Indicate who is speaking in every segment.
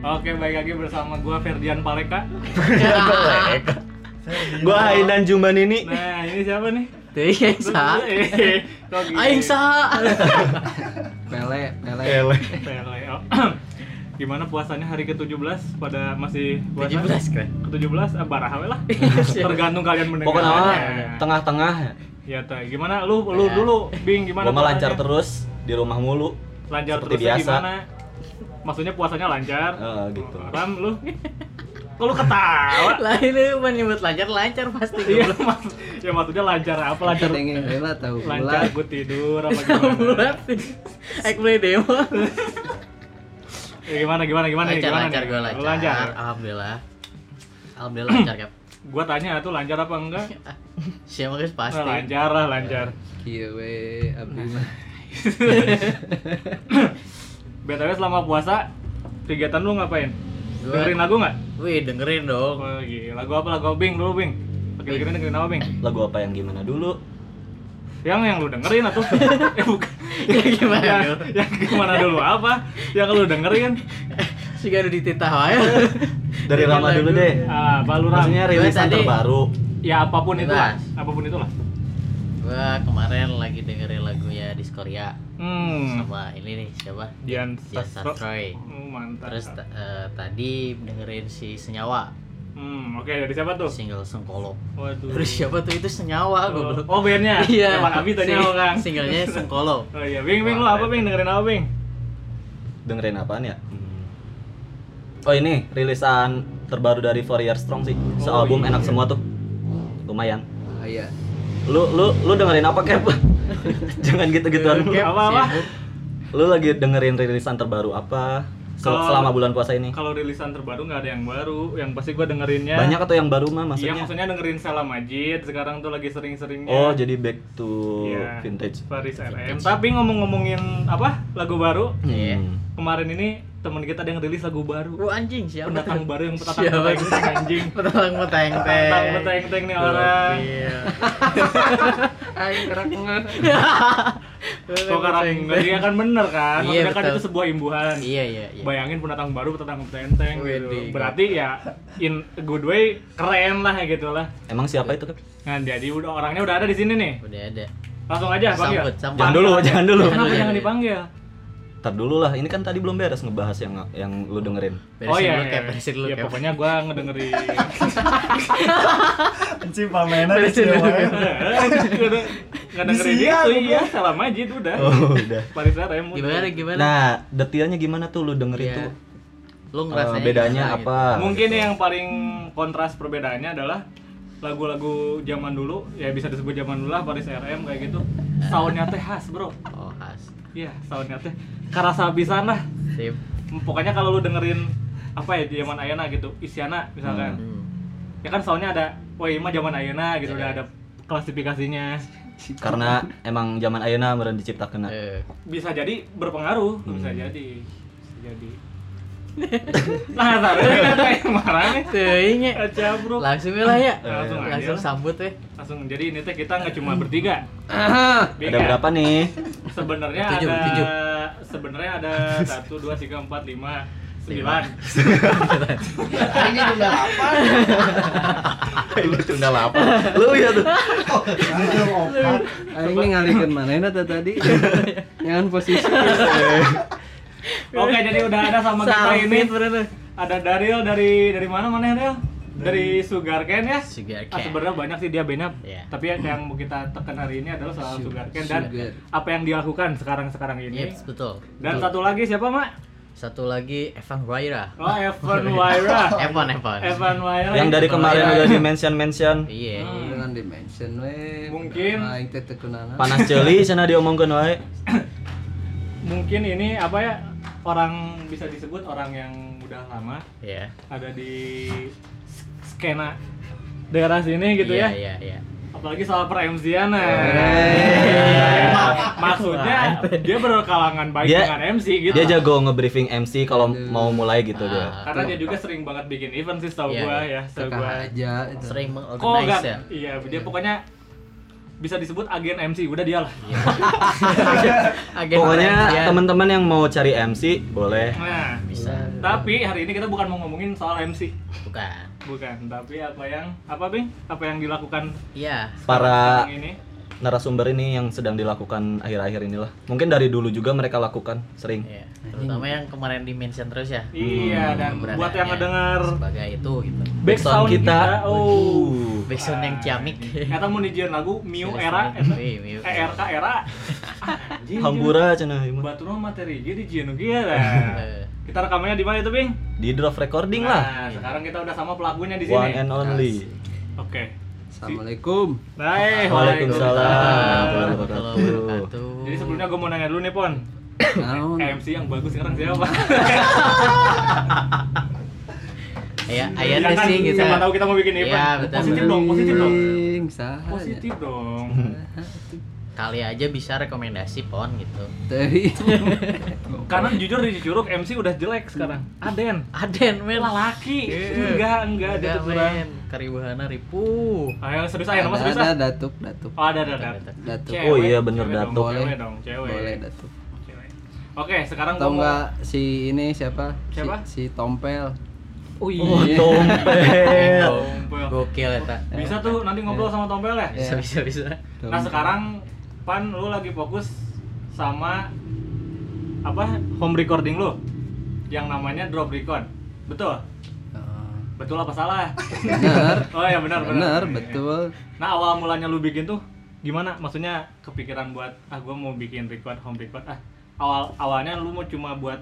Speaker 1: Oke, baik lagi bersama gua Ferdian Paleka.
Speaker 2: Gua
Speaker 1: Iya.
Speaker 2: Haidan Jumban ini.
Speaker 1: Nah, ini siapa nih?
Speaker 3: Teh iya, yang Ah, sah.
Speaker 1: Eh, kok gini?
Speaker 3: Aing sah. Pele, pele.
Speaker 2: Ele.
Speaker 1: Pele. Oh. Gimana puasanya hari ke-17 pada masih puasa?
Speaker 3: 17 kan?
Speaker 1: Ke-17 ah, baraha we lah.
Speaker 3: Iya.
Speaker 1: Tergantung kalian mendengarnya.
Speaker 2: Pokoknya mah
Speaker 1: Iya.
Speaker 2: tengah-tengah.
Speaker 1: Ya, teh. Gimana lu lu
Speaker 3: Ya.
Speaker 1: dulu, Bing, gimana?
Speaker 2: Gua mah lancar
Speaker 1: puasanya?
Speaker 2: terus di rumah mulu.
Speaker 1: Lancar
Speaker 2: seperti
Speaker 1: terusnya
Speaker 2: biasa.
Speaker 1: gimana? Maksudnya puasanya lancar?
Speaker 2: Eh, gitu.
Speaker 1: Ram, lu? Kok lu ketawa?
Speaker 3: Lain lu menyebut lancar lancar pasti
Speaker 1: Iya,
Speaker 3: goblok.
Speaker 1: mak- ya maksudnya lancar apa? Lancar
Speaker 4: pengen rela tahu
Speaker 1: lancar
Speaker 4: bulat
Speaker 1: gue tidur apa gimana?
Speaker 3: Bulat. Ek mulai demo.
Speaker 1: Ya, gimana gimana gimana nih,
Speaker 3: Lancar
Speaker 1: gimana
Speaker 3: lancar
Speaker 1: nih?
Speaker 3: gue
Speaker 1: Lu
Speaker 3: lancar. Alhamdulillah. Alhamdulillah lancar Kap.
Speaker 1: Gua tanya tuh lancar apa enggak?
Speaker 3: Siapa guys
Speaker 1: Nah,
Speaker 3: pasti.
Speaker 1: lancar lah lancar.
Speaker 4: kieu we abdi mah
Speaker 1: BTW selama puasa kegiatan lu ngapain?
Speaker 3: Gua-
Speaker 1: Dengerin lagu nggak?
Speaker 3: Wih dengerin dong.
Speaker 1: Oh, gila. Lagu apa? Lagu apa, Bing dulu Bing. Akhir-akhir ini dengerin apa Bing?
Speaker 2: Lagu apa yang gimana dulu?
Speaker 1: Yang yang lu dengerin atau eh bukan.
Speaker 3: Ya, gimana
Speaker 1: yang,
Speaker 3: dulu?
Speaker 1: yang gimana dulu apa? Yang lu dengerin?
Speaker 3: Si gak ada dititah wae.
Speaker 2: Dari lama dulu deh.
Speaker 1: Ah, apa lu Ram?
Speaker 2: Maksudnya
Speaker 3: Gua
Speaker 2: rilisan
Speaker 3: tadi-
Speaker 2: terbaru.
Speaker 1: Ya apapun itu lah.
Speaker 3: Bebas.
Speaker 1: Apapun itu lah.
Speaker 3: Gua kemarin lagi dengerin lagunya di Korea
Speaker 1: Hmm.
Speaker 3: sama ini nih siapa?
Speaker 1: Dian
Speaker 3: Ya
Speaker 1: Sastro.
Speaker 3: Sastroy.
Speaker 1: Oh, mantap.
Speaker 3: Terus t- eh, tadi dengerin si Senyawa
Speaker 1: Hmm, oke dari siapa tuh?
Speaker 3: single Sengkolok.
Speaker 1: Waduh.
Speaker 3: Terus siapa tuh itu
Speaker 1: Oh,
Speaker 3: Senyawa goblok.
Speaker 1: oh bandnya?
Speaker 3: Iya.
Speaker 1: Depan Abi tanya
Speaker 3: Sing-
Speaker 1: orang.
Speaker 3: Singlenya Sengkolok.
Speaker 1: Oh iya, Bing, Bing, lo apa Bing? Dengerin apa Bing?
Speaker 2: Dengerin apaan ya? Oh ini rilisan terbaru dari Four Year Strong sih.
Speaker 1: Oh,
Speaker 2: Sealbum
Speaker 1: iya.
Speaker 2: enak semua tuh. Lumayan.
Speaker 4: aya
Speaker 2: Lu lu lu dengerin apa, Cap? Jangan gitu-gituan.
Speaker 1: Cap. Apa-apa?
Speaker 3: Sibuk.
Speaker 2: Lu lagi dengerin rilisan terbaru apa? Sel-
Speaker 1: Kalau-
Speaker 2: Selama bulan puasa ini.
Speaker 1: Kalau rilisan terbaru nggak ada yang baru, yang pasti gue dengerinnya
Speaker 2: Banyak atau yang baru
Speaker 1: Ya.
Speaker 2: mah
Speaker 1: Iya,
Speaker 2: maksudnya?
Speaker 1: maksudnya dengerin Salam Majid sekarang tuh lagi sering-seringnya.
Speaker 2: Oh, jadi back to
Speaker 1: Iya.
Speaker 2: vintage.
Speaker 1: Paris RM. Tapi ngomong-ngomongin apa? Lagu baru.
Speaker 3: Iya.
Speaker 2: Hmm.
Speaker 1: Kemarin ini teman kita ada yang rilis lagu baru.
Speaker 3: Lu anjing siapa?
Speaker 1: Pendatang
Speaker 3: tuh?
Speaker 1: baru yang petatang
Speaker 3: Siapa?
Speaker 1: peteng anjing.
Speaker 3: Petang petang teng.
Speaker 1: Petang peteng teng nih orang.
Speaker 3: Iya.
Speaker 4: aing kerak ngeunah.
Speaker 1: Kok karang nggak dia kan bener kan?
Speaker 3: Iya,
Speaker 1: Maksudnya kan
Speaker 3: betul.
Speaker 1: itu sebuah imbuhan.
Speaker 3: Iya iya iya.
Speaker 1: bayangin pendatang baru pendatang petenteng gitu
Speaker 3: Wedding.
Speaker 1: berarti ya in a good way keren lah gitu lah
Speaker 2: Emang siapa itu, Cap?
Speaker 1: nah jadi udah orangnya udah ada di sini nih
Speaker 3: Udah ada.
Speaker 1: langsung aja ya? panggil
Speaker 3: Sambut, sambut.
Speaker 2: Jangan dulu, jangan dulu.
Speaker 1: kenapa
Speaker 3: Jangan
Speaker 1: jangan
Speaker 3: dulu.
Speaker 1: dipanggil
Speaker 2: Ntar dulu lah, ini kan tadi belum beres ngebahas yang yang lu dengerin.
Speaker 1: Oh,
Speaker 3: Beresin dulu, Cap, beresin dulu,
Speaker 1: ya
Speaker 3: Cap.
Speaker 1: pokoknya gua ngedengerin
Speaker 5: Anjing pamena di
Speaker 3: Beresin
Speaker 5: sini.
Speaker 3: dulu.
Speaker 5: wae.
Speaker 1: ngedengerin
Speaker 5: Di siang,
Speaker 1: itu iya salam aja itu udah
Speaker 2: Oh, udah.
Speaker 1: Paris RM udah.
Speaker 3: Gimana gimana?
Speaker 2: Nah, detailnya gimana tuh lu dengerin
Speaker 3: Iya.
Speaker 2: tuh?
Speaker 3: Lu
Speaker 2: Eh,
Speaker 3: ngerasain
Speaker 2: bedanya
Speaker 3: gimana
Speaker 2: apa?
Speaker 1: mungkin yang paling kontras perbedaannya adalah lagu-lagu zaman dulu ya bisa disebut zaman dulu lah Paris RM kayak gitu soundnya teh khas bro
Speaker 3: gitu? Oh, khas.
Speaker 1: Iya, soundnya teh karasa pisan lah.
Speaker 3: Sip.
Speaker 1: Pokoknya kalau lu dengerin apa ya zaman Ayana gitu, Isyana misalkan.
Speaker 3: Hmm.
Speaker 1: Ya kan soundnya ada, woi mah zaman Ayana gitu
Speaker 3: Iya.
Speaker 1: udah ada klasifikasinya.
Speaker 2: Karena emang zaman ayeuna meureun diciptakeun.
Speaker 3: Eh,
Speaker 1: Bisa jadi berpengaruh,
Speaker 3: Hmm.
Speaker 1: bisa jadi. Bisa jadi. nah, taruh marah nih.
Speaker 3: Teuing ya.
Speaker 1: Aja, Bro.
Speaker 3: Langsung lah ya.
Speaker 1: Eh, Langsung aja
Speaker 3: Langsung
Speaker 1: lah.
Speaker 3: sambut ya.
Speaker 1: Langsung jadi ini teh kita nggak cuma bertiga.
Speaker 2: Ada berapa nih?
Speaker 1: Sebenarnya
Speaker 3: Tujuh,
Speaker 1: ada
Speaker 3: tujuh.
Speaker 1: sebenarnya ada 1 2 3 4 5 9.
Speaker 4: aingnya jumlah apa
Speaker 2: lu tunda lapar. Lu ya tuh.
Speaker 5: Anjing opat.
Speaker 4: aing ini ngalihkeun manehna teh tadi
Speaker 1: Iya.
Speaker 4: ngan posisi
Speaker 1: Oke, jadi udah ada sama kita
Speaker 3: Sambit,
Speaker 1: ini.
Speaker 3: bener.
Speaker 1: Ada Daryl dari dari mana mana ya Daryl? Dari Sugarcane ya.
Speaker 3: Sugarcane.
Speaker 1: Ah, sebenarnya banyak sih dia bandnya.
Speaker 3: Iya.
Speaker 1: Tapi yang mau kita tekan hari ini adalah soal
Speaker 4: Su-
Speaker 1: Sugarcane dan
Speaker 4: Sugar.
Speaker 1: apa yang dia lakukan sekarang-sekarang ini.
Speaker 3: Yes, Iya, betul.
Speaker 1: Dan
Speaker 3: Betul.
Speaker 1: satu lagi siapa, Mak?
Speaker 3: Satu lagi Evan Ryra.
Speaker 1: Oh, Evan Waira.
Speaker 3: Evan Evan.
Speaker 1: Oh. Evan Waira.
Speaker 2: Yang dari kemarin
Speaker 3: Iya.
Speaker 2: udah di mention-mention.
Speaker 3: Iya.
Speaker 1: Hmm.
Speaker 4: dengan dimension we
Speaker 1: Mungkin.
Speaker 4: aing teh teu kenana
Speaker 2: Panas celi sana diomongkeun wae.
Speaker 1: mungkin ini apa ya orang bisa disebut orang yang udah lama
Speaker 3: Iya.
Speaker 1: ada di s- skena daerah sini gitu ya.
Speaker 3: Iya, iya, iya.
Speaker 1: apalagi soal per MC-an
Speaker 2: Eh.
Speaker 1: maksudnya dia berkalangan baik
Speaker 2: Dia-
Speaker 1: dengan MC gitu
Speaker 2: Dia jago nge-briefing MC kalau
Speaker 4: Aduh.
Speaker 2: mau mulai gitu dia.
Speaker 1: karena dia juga sering banget bikin event sih setahu
Speaker 3: Iya,
Speaker 1: gua
Speaker 3: iya.
Speaker 1: ya setahu
Speaker 4: Tekah
Speaker 1: gua
Speaker 4: aja itu
Speaker 3: sering
Speaker 1: kok
Speaker 3: mengorganize
Speaker 1: gak
Speaker 3: ya.
Speaker 1: iya dia pokoknya bisa disebut agen MC udah dia lah
Speaker 3: ya. Agen
Speaker 2: Pokoknya
Speaker 3: orange ya.
Speaker 2: teman-teman yang mau cari MC boleh.
Speaker 1: nah
Speaker 3: bisa.
Speaker 1: tapi hari ini kita bukan mau ngomongin soal MC
Speaker 3: Bukan.
Speaker 1: bukan tapi apa yang apa bing apa yang dilakukan
Speaker 3: Iya.
Speaker 2: Para
Speaker 1: sekarang ini
Speaker 2: narasumber ini yang sedang dilakukan akhir-akhir inilah. Mungkin dari dulu juga mereka lakukan sering.
Speaker 3: Iya. Terutama yang kemarin di mention terus ya.
Speaker 1: iya dan buat yang
Speaker 3: keberadaannya
Speaker 1: ngedengar
Speaker 3: sebagai itu gitu.
Speaker 1: background
Speaker 2: Backsound kita.
Speaker 1: oh
Speaker 3: Backsound yang ciamik.
Speaker 1: kata mau dijieun lagu Miu Era eta.
Speaker 3: Wih, Miu
Speaker 1: Eh,
Speaker 3: Era.
Speaker 1: ERK Era Anjing,
Speaker 2: Hambura cenah ieu
Speaker 1: jeung
Speaker 2: mah.
Speaker 1: batu no materi gitu, ge di jieun ge lah ya.
Speaker 3: Eh,
Speaker 1: kita rekamannya di mana itu Bing?
Speaker 2: Di draft recording lah.
Speaker 1: Nah, sekarang kita udah sama pelakunya di
Speaker 2: One
Speaker 1: sini.
Speaker 2: and only.
Speaker 1: Oke.
Speaker 4: Assalamualaikum.
Speaker 1: Nah,
Speaker 2: Waalaikumsalam
Speaker 3: Waalaikumsalam
Speaker 2: warahmatullahi wabarakatuh.
Speaker 1: Jadi sebelumnya gue mau nanya dulu nih Pon.
Speaker 4: Naon?
Speaker 1: MC yang bagus sekarang siapa? Ya
Speaker 3: ya ayah teh
Speaker 1: kan,
Speaker 3: sih gitu.
Speaker 1: Siapa tahu kita mau bikin event.
Speaker 3: Iya, betul,
Speaker 1: positif
Speaker 3: betul.
Speaker 1: dong, positif dong.
Speaker 4: Ting, saha ya?
Speaker 1: Positif dong.
Speaker 3: Kali aja bisa rekomendasi pon gitu.
Speaker 4: Teh. iya.
Speaker 1: Karena jujur di Curug MC udah jelek sekarang. Aden.
Speaker 3: Aden men
Speaker 1: Lelaki.
Speaker 3: Iya.
Speaker 1: Enggak, enggak ada
Speaker 3: Enggak
Speaker 1: kurang.
Speaker 3: men, keribuhana ribu.
Speaker 1: Ayo serius aja, nama serius.
Speaker 4: Ada
Speaker 1: ah.
Speaker 4: ada datuk, datuk.
Speaker 1: Oh, ada ada ada.
Speaker 4: Datuk.
Speaker 1: Cewek,
Speaker 2: Oh iya, bener,
Speaker 1: cewek dong,
Speaker 2: Datuk.
Speaker 1: Cewek dong, cewek.
Speaker 4: Boleh datuk.
Speaker 1: Cewek. Oke, sekarang
Speaker 4: Tahu
Speaker 1: gua mau-
Speaker 4: enggak si ini siapa? Si-
Speaker 1: Siapa?
Speaker 4: Si, Tompel.
Speaker 1: Oh iya.
Speaker 2: Oh, Dompet.
Speaker 1: Tompel.
Speaker 3: Gokil ya, eta.
Speaker 1: Bisa tuh nanti ngobrol sama Tompel ya.
Speaker 3: Bisa bisa bisa.
Speaker 1: Nah sekarang Pan lu lagi fokus sama apa home recording lu yang namanya drop record. Betul?
Speaker 4: Oh,
Speaker 1: Betul apa salah?
Speaker 4: Bener.
Speaker 1: Oh ya benar
Speaker 4: Bener,
Speaker 1: benar.
Speaker 4: betul.
Speaker 1: Nah, awal mulanya lu bikin tuh gimana? Maksudnya kepikiran buat ah gua mau bikin record home record ah. Awal awalnya lu mau cuma buat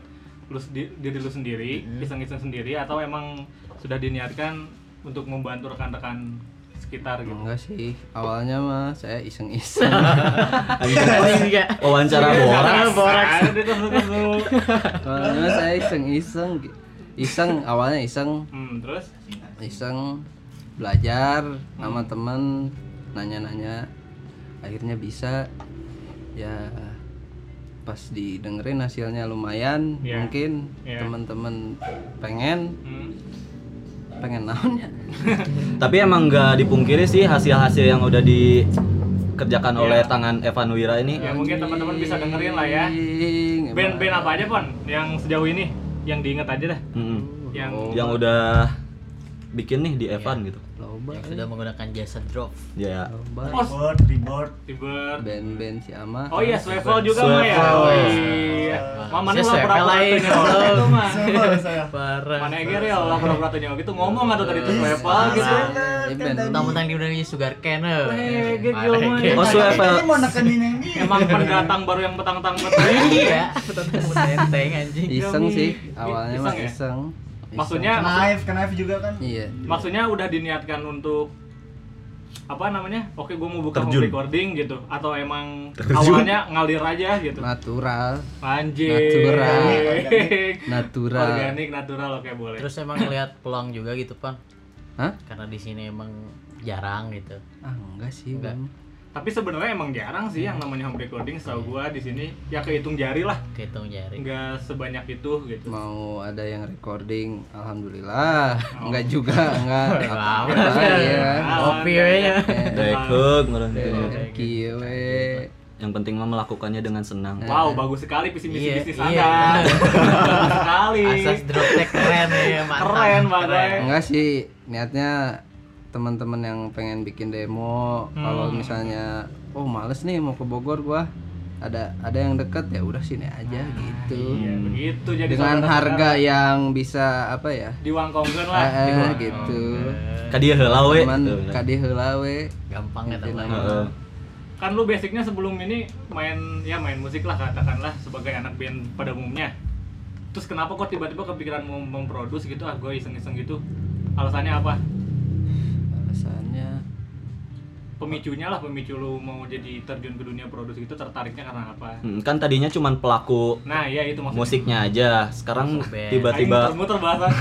Speaker 1: lu sendi- diri lu sendiri,
Speaker 3: Mhm.
Speaker 1: iseng-iseng sendiri atau emang sudah diniatkan untuk membantu rekan-rekan sekitar gitu.
Speaker 4: Enggak sih. Awalnya mah saya iseng-iseng.
Speaker 1: Iya.
Speaker 3: Anjing juga.
Speaker 2: Wawancara borak.
Speaker 1: Borak, borak. Ada tuh, tuh, tuh.
Speaker 4: Awalnya mah saya iseng-iseng. Iseng awalnya iseng
Speaker 1: Hmm, terus
Speaker 4: iseng belajar sama teman nanya-nanya akhirnya bisa ya pas didengerin hasilnya lumayan
Speaker 1: Iya.
Speaker 4: mungkin
Speaker 1: Iya.
Speaker 4: teman-teman pengen
Speaker 1: hmm,
Speaker 4: pengen ya? naonnya
Speaker 2: Tapi emang nggak dipungkiri sih hasil-hasil yang udah dikerjakan
Speaker 1: Iya.
Speaker 2: oleh tangan Evan Wira ini.
Speaker 1: Ya, mungkin teman-teman bisa dengerin lah
Speaker 4: Iya,
Speaker 1: ya.
Speaker 4: Anjing, emang.
Speaker 1: band-band apa aja, Pon? Yang sejauh ini yang diinget aja dah.
Speaker 2: Mm-mm.
Speaker 1: Yang
Speaker 4: Oh,
Speaker 2: Yang udah bikin nih di Evan gitu.
Speaker 4: loba
Speaker 3: Yang sudah menggunakan jasa drop.
Speaker 2: Ya.
Speaker 4: loba
Speaker 1: Os
Speaker 5: Board, di board.
Speaker 1: Tiber.
Speaker 4: band-band si ama
Speaker 1: Oh iya, Swevel juga mah ya.
Speaker 2: Swevel.
Speaker 1: Oh iya. Mama nih lah
Speaker 3: Saya Swevel
Speaker 1: pura-pura
Speaker 3: lain.
Speaker 1: tanya orang itu mah.
Speaker 5: Semua saya.
Speaker 3: Parah.
Speaker 1: Mana ya? yang real lah pura-pura tanya orang gitu ngomong atau tadi tuh Swevel
Speaker 5: Parah.
Speaker 1: gitu.
Speaker 4: Ini band
Speaker 3: Mentang-mentang di Indonesia sugar eh. cane.
Speaker 1: Lege, gila, mah.
Speaker 3: Iya.
Speaker 2: Oh,
Speaker 5: Ini
Speaker 2: Swevel.
Speaker 5: mau nekenin yang ini.
Speaker 1: Emang pendatang baru yang petang-tang petang.
Speaker 3: Iya, tentang menteng anjing.
Speaker 4: iseng
Speaker 1: Kami-
Speaker 4: sih awalnya
Speaker 1: Iseng
Speaker 4: mah
Speaker 1: ya?
Speaker 4: iseng Iseng.
Speaker 1: Maksudnya
Speaker 5: Knife, knife juga kan.
Speaker 4: iya
Speaker 1: maksudnya udah diniatkan untuk apa namanya? Oke, gue mau buka
Speaker 2: Terjun.
Speaker 1: home recording gitu atau emang
Speaker 2: Terjun.
Speaker 1: awalnya ngalir aja gitu.
Speaker 4: natural
Speaker 1: Anjing.
Speaker 4: Natural.
Speaker 1: Organik.
Speaker 4: Natural.
Speaker 1: Organik natural oke boleh.
Speaker 3: Terus emang ngeliat peluang juga gitu, Pon.
Speaker 4: Hah?
Speaker 3: Karena di sini emang jarang gitu.
Speaker 4: Ah enggak sih
Speaker 3: Enggak.
Speaker 4: bang
Speaker 1: Tapi sebenarnya emang jarang sih yang namanya home recording setahu gua di sini ya kehitung jari lah.
Speaker 3: Kehitung jari.
Speaker 1: Enggak sebanyak itu gitu.
Speaker 4: mau ada yang recording alhamdulillah
Speaker 1: Oh.
Speaker 4: enggak juga enggak
Speaker 3: Aman.
Speaker 4: apa ya
Speaker 3: Kopi we nya.
Speaker 1: gitu.
Speaker 2: iya. Dehek, ngeureun teh.
Speaker 4: Oh, iya. kieu we
Speaker 2: Yang penting mah melakukannya dengan senang.
Speaker 3: Hmm.
Speaker 1: Wow, bagus sekali visi misi
Speaker 3: Iya,
Speaker 1: bisnis
Speaker 3: iya.
Speaker 1: Anda. Bagus sekali.
Speaker 3: Asas drop tech keren ya, mantap.
Speaker 1: Iya. Keren banget.
Speaker 4: enggak sih niatnya teman-teman yang pengen bikin demo kalau
Speaker 1: Hmm.
Speaker 4: misalnya oh males nih mau ke Bogor gua ada ada yang deket ya udah sini aja gitu
Speaker 1: Iya, begitu jadi
Speaker 4: dengan
Speaker 1: saudara-saudara.
Speaker 4: harga yang bisa apa ya
Speaker 1: diwangkongkeun lah.
Speaker 4: eh, eh, gitu
Speaker 2: Ka dieu heula we.
Speaker 4: cuman
Speaker 2: Tuh, bener.
Speaker 4: kade heula we
Speaker 3: Gampang
Speaker 1: Iya,
Speaker 3: ya teman.
Speaker 2: Heeh.
Speaker 1: Kan lu basicnya sebelum ini main ya main musik lah katakanlah sebagai anak band pada umumnya. Terus kenapa kok tiba-tiba kepikiran mau memproduksi gitu ah gue iseng-iseng gitu. Alasannya apa?
Speaker 4: alasannya
Speaker 1: Pemicunya lah pemicu lu mau jadi terjun ke dunia produksi itu tertariknya karena apa?
Speaker 2: Mm, Kan tadinya cuman pelaku
Speaker 1: Nah, iya itu maksudnya.
Speaker 2: musiknya aja. Sekarang
Speaker 3: Masuk band.
Speaker 2: tiba-tiba
Speaker 1: muter bahasan.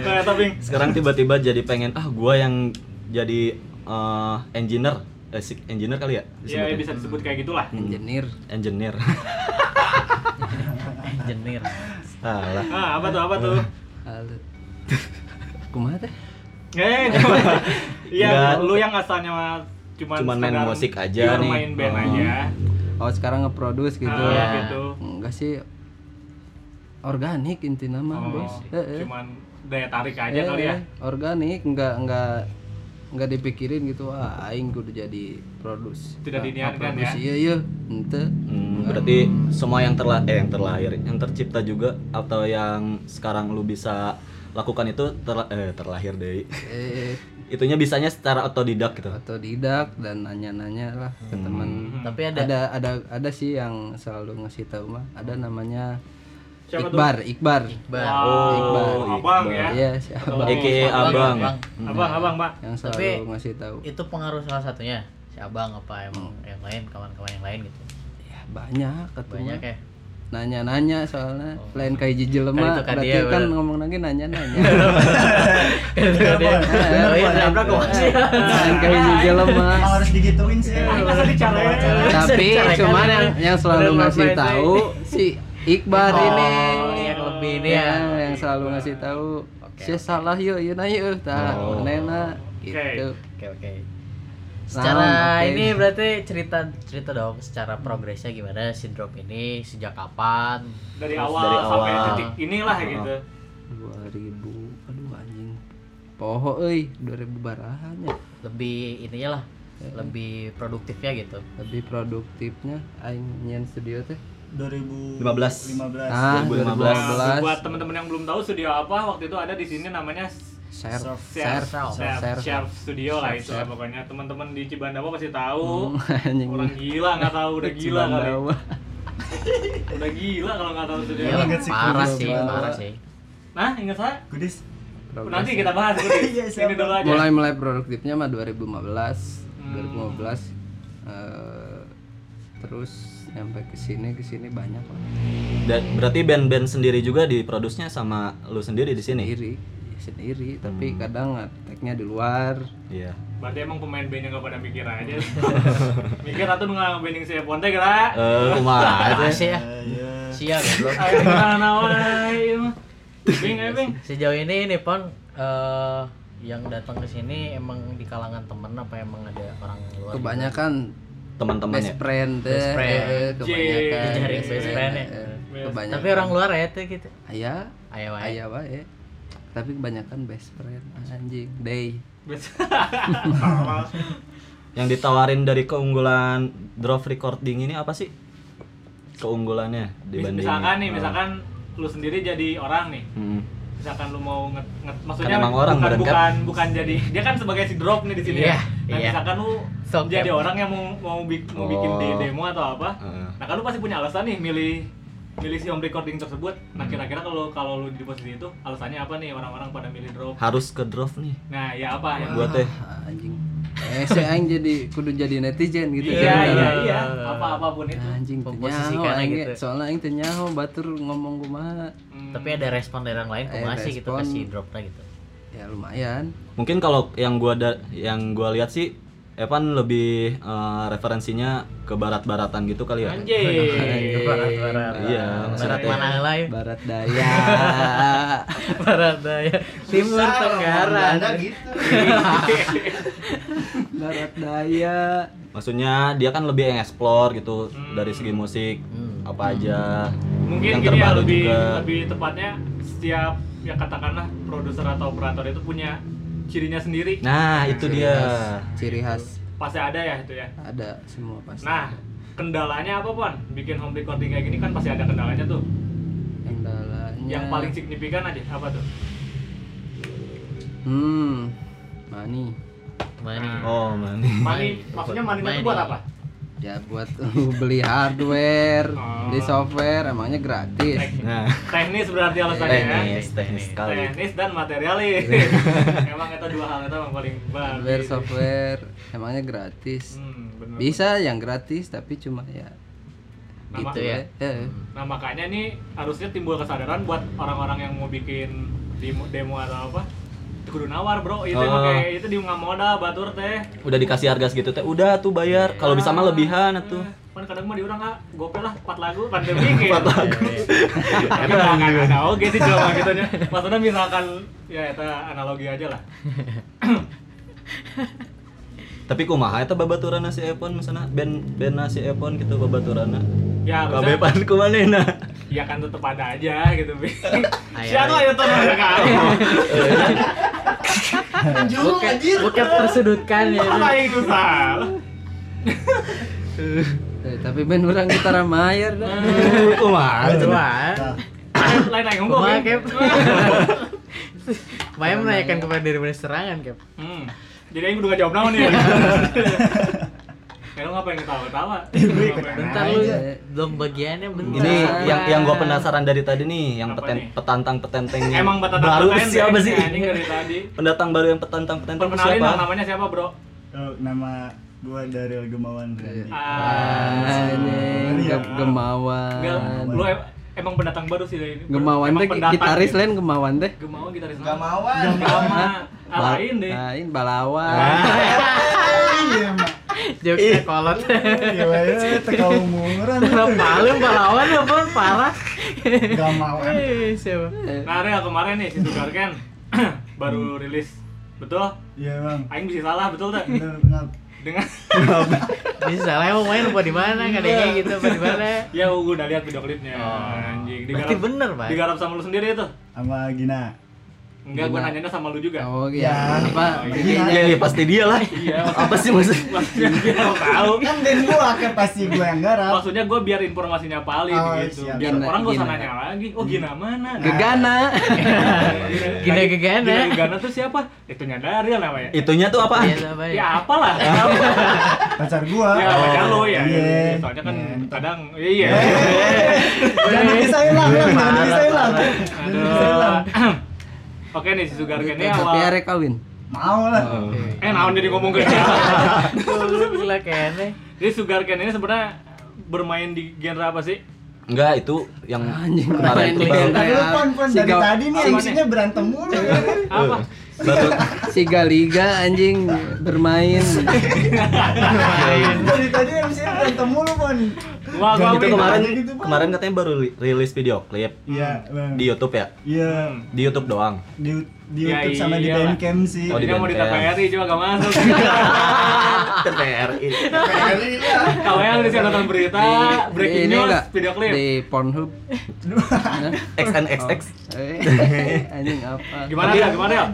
Speaker 1: Ternyata Bing.
Speaker 2: sekarang tiba-tiba jadi pengen ah gua yang jadi eh, engineer, Eh, sik- engineer kali ya?
Speaker 1: Ya,
Speaker 2: disebutnya? Hmm.
Speaker 1: bisa disebut kayak gitulah.
Speaker 4: engineer
Speaker 2: Engineer.
Speaker 3: Engineer.
Speaker 2: Salah.
Speaker 1: Nah, apa tuh? Apa tuh?
Speaker 4: Halo. Kumaha teh?
Speaker 1: Eh, Iya, gua- iya
Speaker 2: Enggak.
Speaker 1: lu yang asalnya cuman,
Speaker 2: Cuman main
Speaker 1: sekedar
Speaker 2: musik aja
Speaker 1: pure
Speaker 2: nih.
Speaker 1: main band
Speaker 2: Oh.
Speaker 1: aja
Speaker 4: oh sekarang ngeproduce gitu
Speaker 1: Ah,
Speaker 3: Ya.
Speaker 1: gitu
Speaker 4: enggak sih organik inti nama
Speaker 1: Oh,
Speaker 4: bos Eh, eh.
Speaker 1: cuman daya tarik aja
Speaker 4: Eh,
Speaker 1: kali ya
Speaker 4: eh, organik nggak nggak nggak dipikirin gitu ah aing kudu jadi produs
Speaker 1: Tidak diniatkan ya?
Speaker 4: iya iya ente
Speaker 2: Hmm, berarti semua yang terla eh, yang terlahir, yang tercipta juga atau yang sekarang lu bisa lakukan itu terla- eh, terlahir dari
Speaker 4: eh,
Speaker 2: itunya bisanya secara otodidak gitu.
Speaker 4: otodidak dan nanya-nanya lah ke teman
Speaker 3: Tapi
Speaker 4: ada.
Speaker 3: ada
Speaker 4: ada ada sih yang selalu ngasih tahu mah ada namanya
Speaker 1: Siapa tuh?
Speaker 4: Iqbar Iqbar
Speaker 3: Bar.
Speaker 2: Oh,
Speaker 1: Wow,
Speaker 4: Iqbal.
Speaker 1: abang ya
Speaker 4: iya si abang
Speaker 2: AKA
Speaker 3: Abang,
Speaker 2: abang.
Speaker 3: abang.
Speaker 1: abang abang pak
Speaker 4: yang
Speaker 3: Oh.
Speaker 4: selalu
Speaker 3: Tapi-
Speaker 4: ngasih tahu
Speaker 3: itu pengaruh salah satunya si abang apa emang yang lain kawan-kawan yang lain gitu
Speaker 4: ya banyak ketemu
Speaker 3: banyak ya
Speaker 4: nanya-nanya soalnya
Speaker 3: Oh.
Speaker 4: lain kayak jijil
Speaker 3: Kan itu
Speaker 4: mah
Speaker 3: kan
Speaker 4: berarti
Speaker 3: dia,
Speaker 4: kan
Speaker 3: bener.
Speaker 4: ngomong lagi nanya-nanya
Speaker 3: Bener, Bon.
Speaker 4: Bener,
Speaker 3: Oh, iya,
Speaker 4: Bon.
Speaker 3: nabrak kok. Iya.
Speaker 4: lain kayak jijil mah
Speaker 5: Emang harus digituin sih
Speaker 1: masa dicarain?
Speaker 4: tapi
Speaker 3: Sedih, kan?
Speaker 4: cuman yang yang selalu
Speaker 3: Bener,
Speaker 4: ngasih
Speaker 3: Mas,
Speaker 4: tahu si Iqbal
Speaker 3: Oh,
Speaker 4: ini
Speaker 3: yang lebih ini
Speaker 4: Ya,
Speaker 3: ya.
Speaker 4: yang selalu ngasih tahu
Speaker 3: Oke,
Speaker 4: si
Speaker 3: oke.
Speaker 4: salah yuk yuk nah yuk tah
Speaker 2: Oh.
Speaker 4: manena
Speaker 1: Oke.
Speaker 4: gitu
Speaker 3: oke oke secara
Speaker 4: Nah, oke.
Speaker 3: ini berarti cerita cerita dong secara progresnya gimana si drop ini sejak kapan
Speaker 1: dari
Speaker 2: Terus
Speaker 1: awal,
Speaker 2: dari
Speaker 1: sampai
Speaker 2: awal.
Speaker 1: detik inilah gitu
Speaker 4: 2000 aduh anjing poho euy 2000 barahan ya
Speaker 3: lebih ininya lah
Speaker 4: Hmm.
Speaker 3: lebih produktifnya gitu
Speaker 4: lebih produktifnya aing nyen studio teh
Speaker 5: 2015
Speaker 2: 15.
Speaker 5: 15
Speaker 4: ah
Speaker 1: 2015. Nah,
Speaker 4: 2015
Speaker 1: buat teman-teman yang belum tahu studio apa waktu itu ada di sini namanya
Speaker 4: share
Speaker 1: Share, Share,
Speaker 4: share share
Speaker 1: Share Studio lah itu lah
Speaker 4: Share. Hmm,
Speaker 1: pokoknya teman-teman di Cibandawa pasti tahu
Speaker 4: anjing
Speaker 1: orang gila nggak tahu udah gila kali
Speaker 4: Cibandawa.
Speaker 1: udah gila kalau nggak tahu studio
Speaker 3: Iya,
Speaker 5: banget sih,
Speaker 3: parah
Speaker 4: gua
Speaker 3: sih
Speaker 4: juga.
Speaker 3: parah sih
Speaker 1: nah ingat saya
Speaker 5: Goodies
Speaker 1: nanti kita bahas Budi.
Speaker 5: Iya, siap.
Speaker 1: ini dulu aja
Speaker 4: mulai mulai produktifnya mah 2015
Speaker 1: Hmm.
Speaker 4: 2015 eh, terus sampai ke sini ke sini banyak lah
Speaker 2: Dan berarti band-band sendiri juga diprodusnya sama lu sendiri di sini.
Speaker 4: sendiri ya sendiri tapi kadang attack-nya di luar
Speaker 2: Iya.
Speaker 1: berarti emang pemain bandnya nggak pada mikir aja mikir atau nggak banding saya ponte kira
Speaker 2: Eh, kumaha
Speaker 3: parah
Speaker 2: teh?
Speaker 3: sih ya sial goblok.
Speaker 1: ayo kita nawai bing ayo bing
Speaker 3: sejauh ini ini pon eh, yang datang ke sini emang di kalangan temen apa emang ada orang luar
Speaker 4: kebanyakan
Speaker 2: Teman-teman ya.
Speaker 4: best friend teh
Speaker 3: Best friend.
Speaker 4: eh, eh, kebanyakan
Speaker 1: Jee.
Speaker 3: Jejaring best friend ya.
Speaker 4: eh, eh,
Speaker 1: Best.
Speaker 4: kebanyakan
Speaker 3: tapi orang luar ya tuh gitu
Speaker 4: aya
Speaker 3: ayo ayo
Speaker 4: aya wae tapi kebanyakan best friend anjing day
Speaker 2: Yang ditawarin dari keunggulan Drop Recording ini apa sih? Keunggulannya dibanding
Speaker 1: misalkan
Speaker 4: eh.
Speaker 1: nih misalkan lu sendiri jadi orang nih
Speaker 2: Hmm.
Speaker 1: misalkan lu mau nge, nge- maksudnya
Speaker 2: emang orang
Speaker 1: bukan
Speaker 2: badan kan?
Speaker 1: bukan, bukan jadi dia kan sebagai si drop nih di sini ya.
Speaker 3: Iya,
Speaker 1: Nah,
Speaker 3: iya.
Speaker 1: misalkan lu
Speaker 3: Sound
Speaker 1: jadi
Speaker 3: cap.
Speaker 1: orang yang mau mau, bi- mau bikin
Speaker 2: ya. Oh.
Speaker 1: de- demo atau apa.
Speaker 2: Heeh.
Speaker 1: Nah, kan lu pasti punya alasan nih milih milih si home recording tersebut.
Speaker 2: Hmm.
Speaker 1: Nah, kira-kira kalau kalau lu di posisi itu alasannya apa nih orang-orang pada milih drop?
Speaker 2: Harus ke drop nih
Speaker 1: Nah, ya apa ya?
Speaker 2: buat teh.
Speaker 4: Ah, anjing eh si aing jadi kudu jadi netizen gitu
Speaker 1: Iya,
Speaker 2: ya.
Speaker 4: Jadi
Speaker 1: iya,
Speaker 4: orang-
Speaker 1: iya. Apa apapun itu.
Speaker 4: Ya, anjing
Speaker 3: Komposisi
Speaker 4: tenyaho
Speaker 3: karena
Speaker 4: aing
Speaker 3: gitu.
Speaker 4: ge. soalnya aing tenyaho batur ngomong kumaha
Speaker 1: Hmm.
Speaker 3: tapi ada respon dari orang lain kok
Speaker 4: Ada
Speaker 3: masih gitu
Speaker 4: respon.
Speaker 3: kasih dropnya gitu
Speaker 4: ya lumayan
Speaker 2: Mungkin kalau yang gua da- yang gua lihat sih Evan lebih eh, referensinya ke barat-baratan gitu kali ya.
Speaker 1: Anjir.
Speaker 3: barat
Speaker 2: Iya,
Speaker 3: barat
Speaker 2: maksudnya-
Speaker 3: mana
Speaker 1: Eh.
Speaker 3: lain
Speaker 4: barat daya
Speaker 3: barat daya timur tenggara
Speaker 5: Ada gitu
Speaker 4: barat daya
Speaker 2: Maksudnya dia kan lebih yang explore gitu dari segi musik apa aja.
Speaker 1: Hmm. Mungkin
Speaker 2: yang
Speaker 1: gini ya
Speaker 2: terbaru
Speaker 1: lebih
Speaker 2: juga.
Speaker 1: lebih tepatnya setiap ya katakanlah produser atau operator itu punya cirinya sendiri.
Speaker 2: Nah, itu dia.
Speaker 4: ciri khas
Speaker 1: Pasti ada ya itu ya.
Speaker 4: ada semua pasti
Speaker 1: Nah, kendalanya apa Pon? Bikin home recording kayak gini kan pasti ada kendalanya tuh.
Speaker 4: kendalanya
Speaker 1: Yang paling signifikan aja apa tuh?
Speaker 4: hmm money
Speaker 3: mana
Speaker 2: Oh, man.
Speaker 1: Money, maksudnya money itu
Speaker 3: Money.
Speaker 1: buat apa?
Speaker 4: ya buat lu beli hardware
Speaker 1: Oh.
Speaker 4: beli software emangnya gratis
Speaker 2: Nah,
Speaker 1: Teknis berarti alasannya ya.
Speaker 2: teknis, teknis sekali.
Speaker 1: Teknis dan materialis. Emang itu dua hal itu yang paling
Speaker 4: hardware
Speaker 1: bagus.
Speaker 4: software emangnya gratis
Speaker 1: gitu. Hmm, bener.
Speaker 4: bisa yang gratis tapi cuma ya
Speaker 1: Nama-
Speaker 3: Gitu ya.
Speaker 4: eh,
Speaker 1: Nah, makanya nih harusnya timbul kesadaran buat orang-orang yang mau bikin demo, demo atau apa. Kudu nawar, Bro. Itu emang
Speaker 2: Oh.
Speaker 1: kayak itu di modal batur teh.
Speaker 2: Udah dikasih harga segitu teh, udah tuh bayar. Kalau bisa mah lebihan atuh.
Speaker 1: Kan Ah. kadang mah diurang ah, gope lah 4 lagu pandemi gitu. 4
Speaker 2: lagu.
Speaker 1: Tapi nggak akan ada oke sih jelema gitu nya. Maksudnya misalkan ya eta analogi aja lah.
Speaker 2: tapi kumaha eta babaturana si Epon misalnya band bandna si Epon gitu babaturana
Speaker 1: ya harusnya
Speaker 2: kabepan nah. kumanehna
Speaker 1: ya kan tetep ada aja gitu Bi. siapa ayo teman kali
Speaker 5: Anjur, anjir.
Speaker 3: Bokep tersudutkan ya.
Speaker 1: apa yang itu salah
Speaker 4: Eh, tapi band orang kita ramayar dah.
Speaker 1: Hmm.
Speaker 2: kumaha cenah?
Speaker 5: Nah,
Speaker 3: Kedua,
Speaker 1: lain lain ngomong
Speaker 3: Kumaha,
Speaker 1: Bi.
Speaker 3: Kep? Maya menanyakan kepada diri mana serangan, Kep.
Speaker 1: hmm. jadi aku udah gak jawab naon ya Kayak lu ngapain ketawa-ketawa?
Speaker 3: Bentar
Speaker 5: Nah,
Speaker 3: lu
Speaker 4: iya.
Speaker 3: belum bagiannya bentar.
Speaker 2: ini yang yang gua
Speaker 3: penasaran
Speaker 2: penasaran dari tadi nih yang
Speaker 1: Apa
Speaker 2: peten,
Speaker 1: nih?
Speaker 2: petantang petenteng
Speaker 1: Emang batas
Speaker 2: baru siapa sih
Speaker 1: Anjing dari tadi.
Speaker 2: pendatang baru yang petantang petenteng
Speaker 1: Perkenalin dong,
Speaker 2: siapa
Speaker 1: namanya siapa, Bro?
Speaker 5: Oh, nama gua Daryl Gemawan.
Speaker 4: Iya.
Speaker 5: Randy.
Speaker 1: Ah,
Speaker 4: Anjing,
Speaker 5: Iya.
Speaker 4: ge- gemawan.
Speaker 1: enggak, lu em- emang pendatang baru sih dari ini.
Speaker 4: Gemawan
Speaker 1: Emang
Speaker 4: teh
Speaker 1: pendatang
Speaker 4: gitaris
Speaker 1: gitu.
Speaker 4: lain gemawan teh.
Speaker 1: Gemawan gitaris
Speaker 5: Gak
Speaker 1: mana?
Speaker 5: mau
Speaker 1: Gama. Ah,
Speaker 4: Bal-
Speaker 1: Lain deh.
Speaker 4: Lain
Speaker 5: Ah.
Speaker 4: balawan.
Speaker 5: Iya, Mak.
Speaker 3: jokesnya kolot.
Speaker 5: Iya, wae, teka umuran.
Speaker 3: Terlalu palu pahlawan apa parah.
Speaker 5: Gak mau.
Speaker 3: Eh, Siapa?
Speaker 1: Nah, Rel kemarin nih si Sugar kan baru
Speaker 4: Hmm.
Speaker 1: rilis. Betul?
Speaker 5: Iya, Bang.
Speaker 1: Aing bisa salah, betul tak?
Speaker 5: Bener banget.
Speaker 1: Dengan
Speaker 3: Bisa salah emang main lupa di mana kadangnya gitu apa di mana.
Speaker 1: ya gua udah lihat video klipnya.
Speaker 5: Oh.
Speaker 1: Anjing,
Speaker 3: Berarti
Speaker 1: digarap.
Speaker 3: bener, Pak.
Speaker 1: Digarap sama lu sendiri itu.
Speaker 5: Sama Gina.
Speaker 1: Enggak, gua nanyanya sama lu juga.
Speaker 4: Iya. Oh
Speaker 5: Ya.
Speaker 4: iya. Apa?
Speaker 5: Gina.
Speaker 2: ya, ya pasti dia lah
Speaker 1: Iya.
Speaker 2: apa sih maksud
Speaker 1: Maksudnya gua tahu.
Speaker 5: Kan band gua kan pasti gua yang garap.
Speaker 1: Maksudnya gua biar informasinya valid
Speaker 5: Oh,
Speaker 1: gitu.
Speaker 5: siap.
Speaker 1: Biar
Speaker 4: Gina,
Speaker 1: orang gak usah
Speaker 4: Gina. Hmm.
Speaker 1: nanya lagi. Oh, Gina mana?
Speaker 4: Gegana.
Speaker 3: Gina Gegana.
Speaker 1: Gina Gegana tuh siapa? Itu nyadari namanya.
Speaker 2: itunya tuh apa
Speaker 3: Iya, siapa ya?
Speaker 1: Ya apalah. Apa?
Speaker 5: Pacar gua.
Speaker 1: ya baca lu ya.
Speaker 5: Iya.
Speaker 1: Soalnya kan
Speaker 5: Iya.
Speaker 1: kadang iya.
Speaker 3: Iya.
Speaker 5: Jangan dipisahin lah, Bang. jangan
Speaker 3: Parah,
Speaker 5: dipisahin lah.
Speaker 3: parah.
Speaker 5: Jangan dipisahin lah.
Speaker 1: Aduh. Oke nih si Sugar Ken ini
Speaker 4: Tapi
Speaker 1: awal.
Speaker 4: arek kawin.
Speaker 5: Mau lah.
Speaker 1: Eh naon jadi ngomong ke dia.
Speaker 3: Lu gila kayaknya.
Speaker 1: Jadi Sugar Ken ini sebenarnya bermain di genre apa sih?
Speaker 2: enggak itu yang
Speaker 4: Anjing,
Speaker 2: kemarin
Speaker 4: kemarin
Speaker 2: tuh
Speaker 4: di
Speaker 2: baru
Speaker 4: band.
Speaker 5: Tadi lu pon pon
Speaker 4: Si
Speaker 5: dari
Speaker 4: Gau-
Speaker 5: tadi nih
Speaker 1: Apanya?
Speaker 5: isinya berantem mulu. ya kan?
Speaker 1: Apa?
Speaker 2: baru
Speaker 4: Si Galiga anjing bermain.
Speaker 5: Dari tadi isinya berantem mulu pon.
Speaker 1: Wah, gua
Speaker 5: Jangan
Speaker 2: itu
Speaker 5: gitu,
Speaker 2: kemarin
Speaker 5: Bang. Gitu, Bang.
Speaker 2: kemarin katanya baru li- rilis video klip
Speaker 5: Iya, Bang.
Speaker 2: di YouTube ya
Speaker 5: Iya.
Speaker 2: di YouTube doang
Speaker 5: Di, di
Speaker 1: Ya,
Speaker 5: YouTube sama di
Speaker 1: iyalah.
Speaker 5: Bandcamp sih.
Speaker 2: Oh, di
Speaker 1: Jadinya mau di
Speaker 2: band.
Speaker 1: TKRI juga gak masuk.
Speaker 2: TVRI
Speaker 1: Kalian di siaran berita, breaking
Speaker 4: Ini
Speaker 1: news,
Speaker 4: enggak?
Speaker 1: video klip.
Speaker 4: Di Pornhub.
Speaker 2: XNXX
Speaker 4: Oh. Eh, anjing apa?
Speaker 1: Gimana ya? Gimana ya?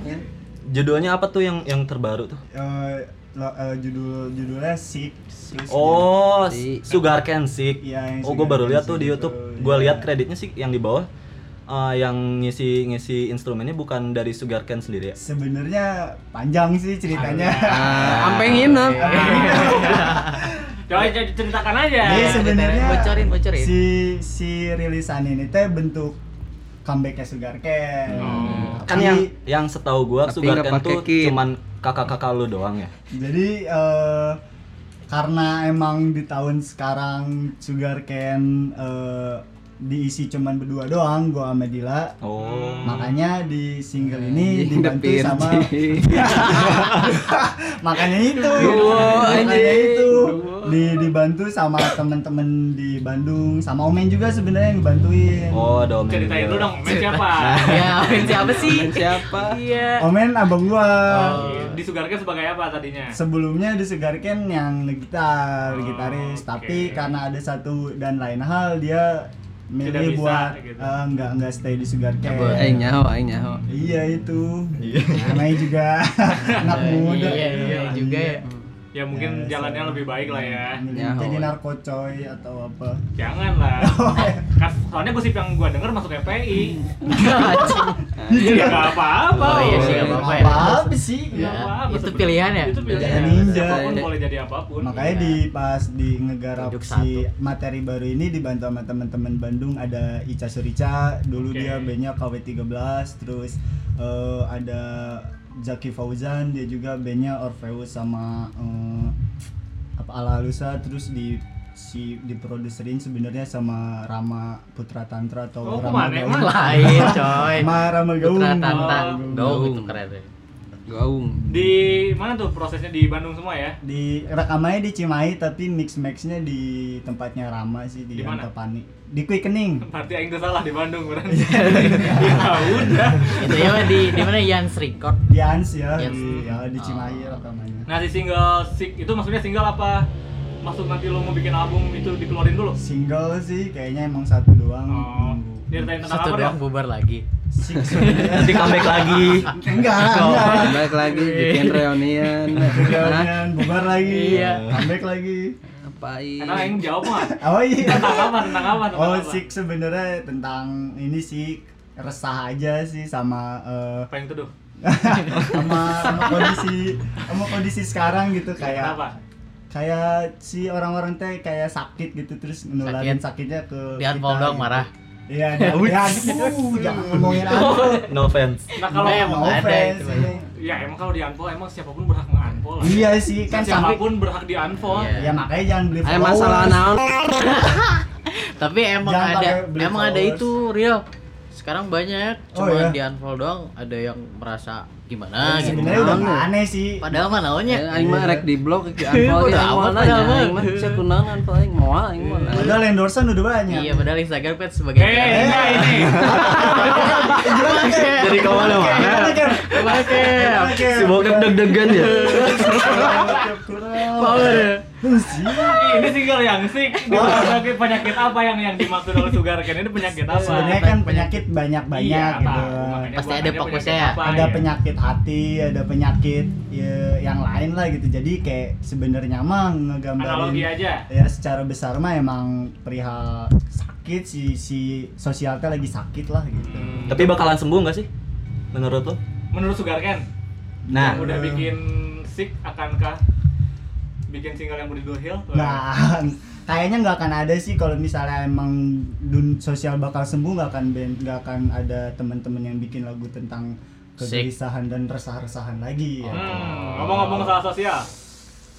Speaker 2: judulnya apa tuh yang yang terbaru tuh
Speaker 5: Eh, lo- eh, judul judulnya Sick. Terus
Speaker 2: Oh,
Speaker 4: Si-
Speaker 2: Sugar Cane Sick.
Speaker 5: Iya, yang
Speaker 2: oh, gue
Speaker 5: Sugar
Speaker 2: baru
Speaker 5: Cane
Speaker 2: lihat tuh
Speaker 5: Sick
Speaker 2: di
Speaker 5: itu,
Speaker 2: YouTube. Gue
Speaker 5: iya.
Speaker 2: lihat kreditnya sih yang di bawah. Eh, yang ngisi ngisi instrumennya bukan dari Sugar Cane sendiri ya.
Speaker 5: Sebenarnya panjang sih ceritanya.
Speaker 4: Ah, ampe nginep.
Speaker 3: Iya.
Speaker 1: Coba coba ceritakan aja.
Speaker 2: Iya,
Speaker 5: Jadi sebenarnya
Speaker 3: Bocorin, bocorin.
Speaker 5: si si rilisan ini teh bentuk comebacknya Sugar Cane.
Speaker 1: Oh.
Speaker 2: Kan
Speaker 5: Tapi-
Speaker 2: yang yang setahu gue
Speaker 4: Tapi
Speaker 2: Sugar
Speaker 4: nggak
Speaker 2: Cane
Speaker 4: pakai
Speaker 2: tuh
Speaker 4: kit.
Speaker 2: cuman kakak-kakak lu doang ya.
Speaker 5: Jadi eh, karena emang di tahun sekarang Sugar Cane eh, diisi cuman berdua doang gua sama Dila.
Speaker 2: Oh.
Speaker 5: Makanya di single ini
Speaker 4: Anjing,
Speaker 5: dibantu
Speaker 4: depir,
Speaker 5: sama
Speaker 4: anjing.
Speaker 5: makanya itu. makanya
Speaker 4: anjing.
Speaker 5: itu di- dibantu sama temen-temen di Bandung sama Omen juga sebenarnya yang dibantuin.
Speaker 2: Oh, ada
Speaker 3: Iya.
Speaker 2: Om.
Speaker 1: Ceritain dulu dong, main siapa?
Speaker 3: Ya, main siapa sih?
Speaker 4: Siapa?
Speaker 3: Iya.
Speaker 5: Omen abang gua.
Speaker 1: Oh. Disugarkan sebagai apa tadinya?
Speaker 5: Sebelumnya disegarkan yang gitar,
Speaker 1: Oh,
Speaker 5: gitaris,
Speaker 1: oke.
Speaker 5: tapi karena ada satu dan lain hal dia
Speaker 1: Tidak bisa,
Speaker 5: milih buat
Speaker 1: gitu.
Speaker 5: eh, nggak nggak stay di Sugarcane.
Speaker 4: Aing nyaho, aing nyaho.
Speaker 5: Iya itu. Namanya juga anak muda.
Speaker 3: Iya, iya juga ya.
Speaker 1: Ya
Speaker 3: Iya,
Speaker 1: mungkin
Speaker 5: Ya,
Speaker 1: jalannya
Speaker 5: saya-
Speaker 1: lebih baik lah ya.
Speaker 3: Hmm.
Speaker 5: Milih
Speaker 4: Nyaho.
Speaker 5: Jadi narkocoy atau apa?
Speaker 1: Jangan lah.
Speaker 3: Oh, iya.
Speaker 1: Kas- Soalnya gosip yang gua denger masuk FPI. ya nggak apa-apa.
Speaker 3: Hmm. Iya. Oh, iya sih, nggak
Speaker 1: Nggak
Speaker 3: apa-apa ya.
Speaker 5: Apa sih?
Speaker 3: Ya,
Speaker 1: apa-apa
Speaker 3: itu
Speaker 1: sebenarnya.
Speaker 3: pilihan Iya. ya?
Speaker 1: Itu pilihan.
Speaker 5: Jadi ninja.
Speaker 1: Siapapun boleh jadi apapun.
Speaker 5: Makanya di pas di ngegarap
Speaker 3: Produk
Speaker 5: si materi baru ini dibantu sama teman-teman Bandung ada Ica Surica, dulu
Speaker 1: Oke.
Speaker 5: dia bandnya KW13, terus eh, ada Zaki Fauzan, dia juga bandnya Orpheus sama eh, apa Ala Lusa, terus di si diproduserin sebenarnya sama Rama Putra Tantra atau
Speaker 1: Oh, kemana
Speaker 5: Rama Gaung.
Speaker 1: emang?
Speaker 3: Lain, coy.
Speaker 5: Sama Rama Gaung.
Speaker 3: Putra Tanta.
Speaker 5: Oh.
Speaker 3: Gaung itu keren. deh.
Speaker 4: Gaung.
Speaker 1: di mana tuh prosesnya di Bandung semua ya?
Speaker 5: Di rekamannya di Cimahi tapi mix maxnya di tempatnya Rama sih di
Speaker 1: Di mana?
Speaker 5: Antapani. di Quickening
Speaker 1: Berarti aing tuh salah di Bandung berarti.
Speaker 3: Iya.
Speaker 1: ya udah.
Speaker 3: itu ya di di mana Yans Record
Speaker 5: di Ans ya,
Speaker 3: Yes.
Speaker 5: di, ya, di
Speaker 3: Oh.
Speaker 5: Cimahi rekamannya.
Speaker 1: Nah, si single Sick itu maksudnya single apa? Maksud nanti lo mau bikin album itu dikeluarin dulu?
Speaker 5: Single sih kayaknya emang satu doang.
Speaker 1: Oh,
Speaker 5: Nunggu.
Speaker 1: diceritain tentang
Speaker 3: Hmm. satu
Speaker 1: apa dong?
Speaker 3: doang bubar lagi
Speaker 5: Six sebenarnya.
Speaker 2: Nanti comeback lagi.
Speaker 5: enggak,
Speaker 3: Oh.
Speaker 5: enggak.
Speaker 4: Nah, Balik lagi bikin reunian.
Speaker 5: Iya,
Speaker 4: Hah?
Speaker 5: Kemudian bubar lagi,
Speaker 3: Iya.
Speaker 5: comeback lagi.
Speaker 4: Apain?
Speaker 1: Karena aing jawab mah.
Speaker 5: Oh iya.
Speaker 1: Tentang apa? Tentang apa? Tentang
Speaker 5: Oh
Speaker 1: apa?
Speaker 5: six sebenarnya tentang ini sih resah aja sih sama eh,
Speaker 1: Apa yang teduh?
Speaker 5: sama, sama kondisi sama kondisi sekarang gitu kayak
Speaker 1: Kenapa?
Speaker 5: kayak si orang-orang teh kayak sakit gitu terus menularin sakitnya ke
Speaker 3: Dian
Speaker 5: kita,
Speaker 3: Paul doang
Speaker 5: gitu.
Speaker 3: marah
Speaker 5: iya Dian uh, jangan ngomongin aku
Speaker 2: No offense.
Speaker 1: Nah, kalau
Speaker 3: Nah, emang
Speaker 5: No
Speaker 3: ada
Speaker 5: offense,
Speaker 3: itu.
Speaker 5: ini.
Speaker 1: ya emang kalau di unfollow emang siapapun berhak nge-unfollow. lah. ya.
Speaker 5: iya sih kan sampai
Speaker 1: siapapun berhak di unfollow.
Speaker 3: Iya.
Speaker 5: ya makanya jangan beli Nah,
Speaker 4: Eh masalah
Speaker 5: followers.
Speaker 4: naon?
Speaker 3: tapi emang
Speaker 5: Jangan
Speaker 3: ada
Speaker 5: pakai beli
Speaker 3: emang ada
Speaker 5: followers.
Speaker 3: itu real sekarang banyak
Speaker 5: Oh,
Speaker 3: cuma
Speaker 5: iya.
Speaker 3: di unfollow doang ada yang merasa gimana gitu
Speaker 5: sebenarnya udah Iya,
Speaker 4: Naon,
Speaker 5: nggak
Speaker 4: ya?
Speaker 5: aneh sih
Speaker 3: padahal mah
Speaker 4: Ya,
Speaker 3: naonnya
Speaker 4: aing mah rek di blog ke unfollow
Speaker 3: Udah
Speaker 4: ya aing mah
Speaker 3: amat,
Speaker 4: nanya
Speaker 3: udah amat.
Speaker 4: aing mah sieu kunaon unfollow aing moal aing mah. nanya.
Speaker 5: padahal endorsean udah banyak
Speaker 3: iya padahal Instagram pet sebagai
Speaker 1: Eh,
Speaker 5: Iya,
Speaker 1: enggak ini.
Speaker 2: Jadi kemana mana?
Speaker 5: iya.
Speaker 1: Iya.
Speaker 3: Oke.
Speaker 2: Si bokep deg-degan ya.
Speaker 5: Iya
Speaker 1: Ini single yang sick. Ini
Speaker 5: Oh.
Speaker 1: penyakit, penyakit apa yang yang dimaksud oleh Sugar Ken? Ini penyakit apa?
Speaker 5: sebenarnya kan penyakit
Speaker 1: Iya,
Speaker 5: banyak-banyak
Speaker 1: tahu.
Speaker 5: gitu
Speaker 1: Makanya
Speaker 3: Pasti
Speaker 1: gua
Speaker 3: ada
Speaker 1: nanya
Speaker 3: fokusnya
Speaker 1: penyakit
Speaker 3: ya.
Speaker 1: apa,
Speaker 5: ada
Speaker 1: iya.
Speaker 5: penyakit hati ada penyakit ya, yang lain lah gitu jadi kayak sebenarnya mah
Speaker 1: analogi
Speaker 5: ngegambarin
Speaker 1: aja.
Speaker 5: ya secara besar mah emang perihal sakit si si sosialnya lagi sakit lah gitu
Speaker 1: Hmm.
Speaker 2: Tapi bakalan sembuh nggak sih? Menurut lo?
Speaker 1: menurut Sugar Ken,
Speaker 2: Nah,
Speaker 1: yang udah bikin sick akankah bikin single yang udah downhill?
Speaker 5: Nah, kayaknya nggak akan ada sih kalau misalnya emang dun sosial bakal sembuh nggak akan ben- nggak akan ada teman-teman yang bikin lagu tentang
Speaker 3: Sick.
Speaker 5: kegelisahan dan resah-resahan lagi ya.
Speaker 1: Hmm, ngomong-ngomong soal sosial,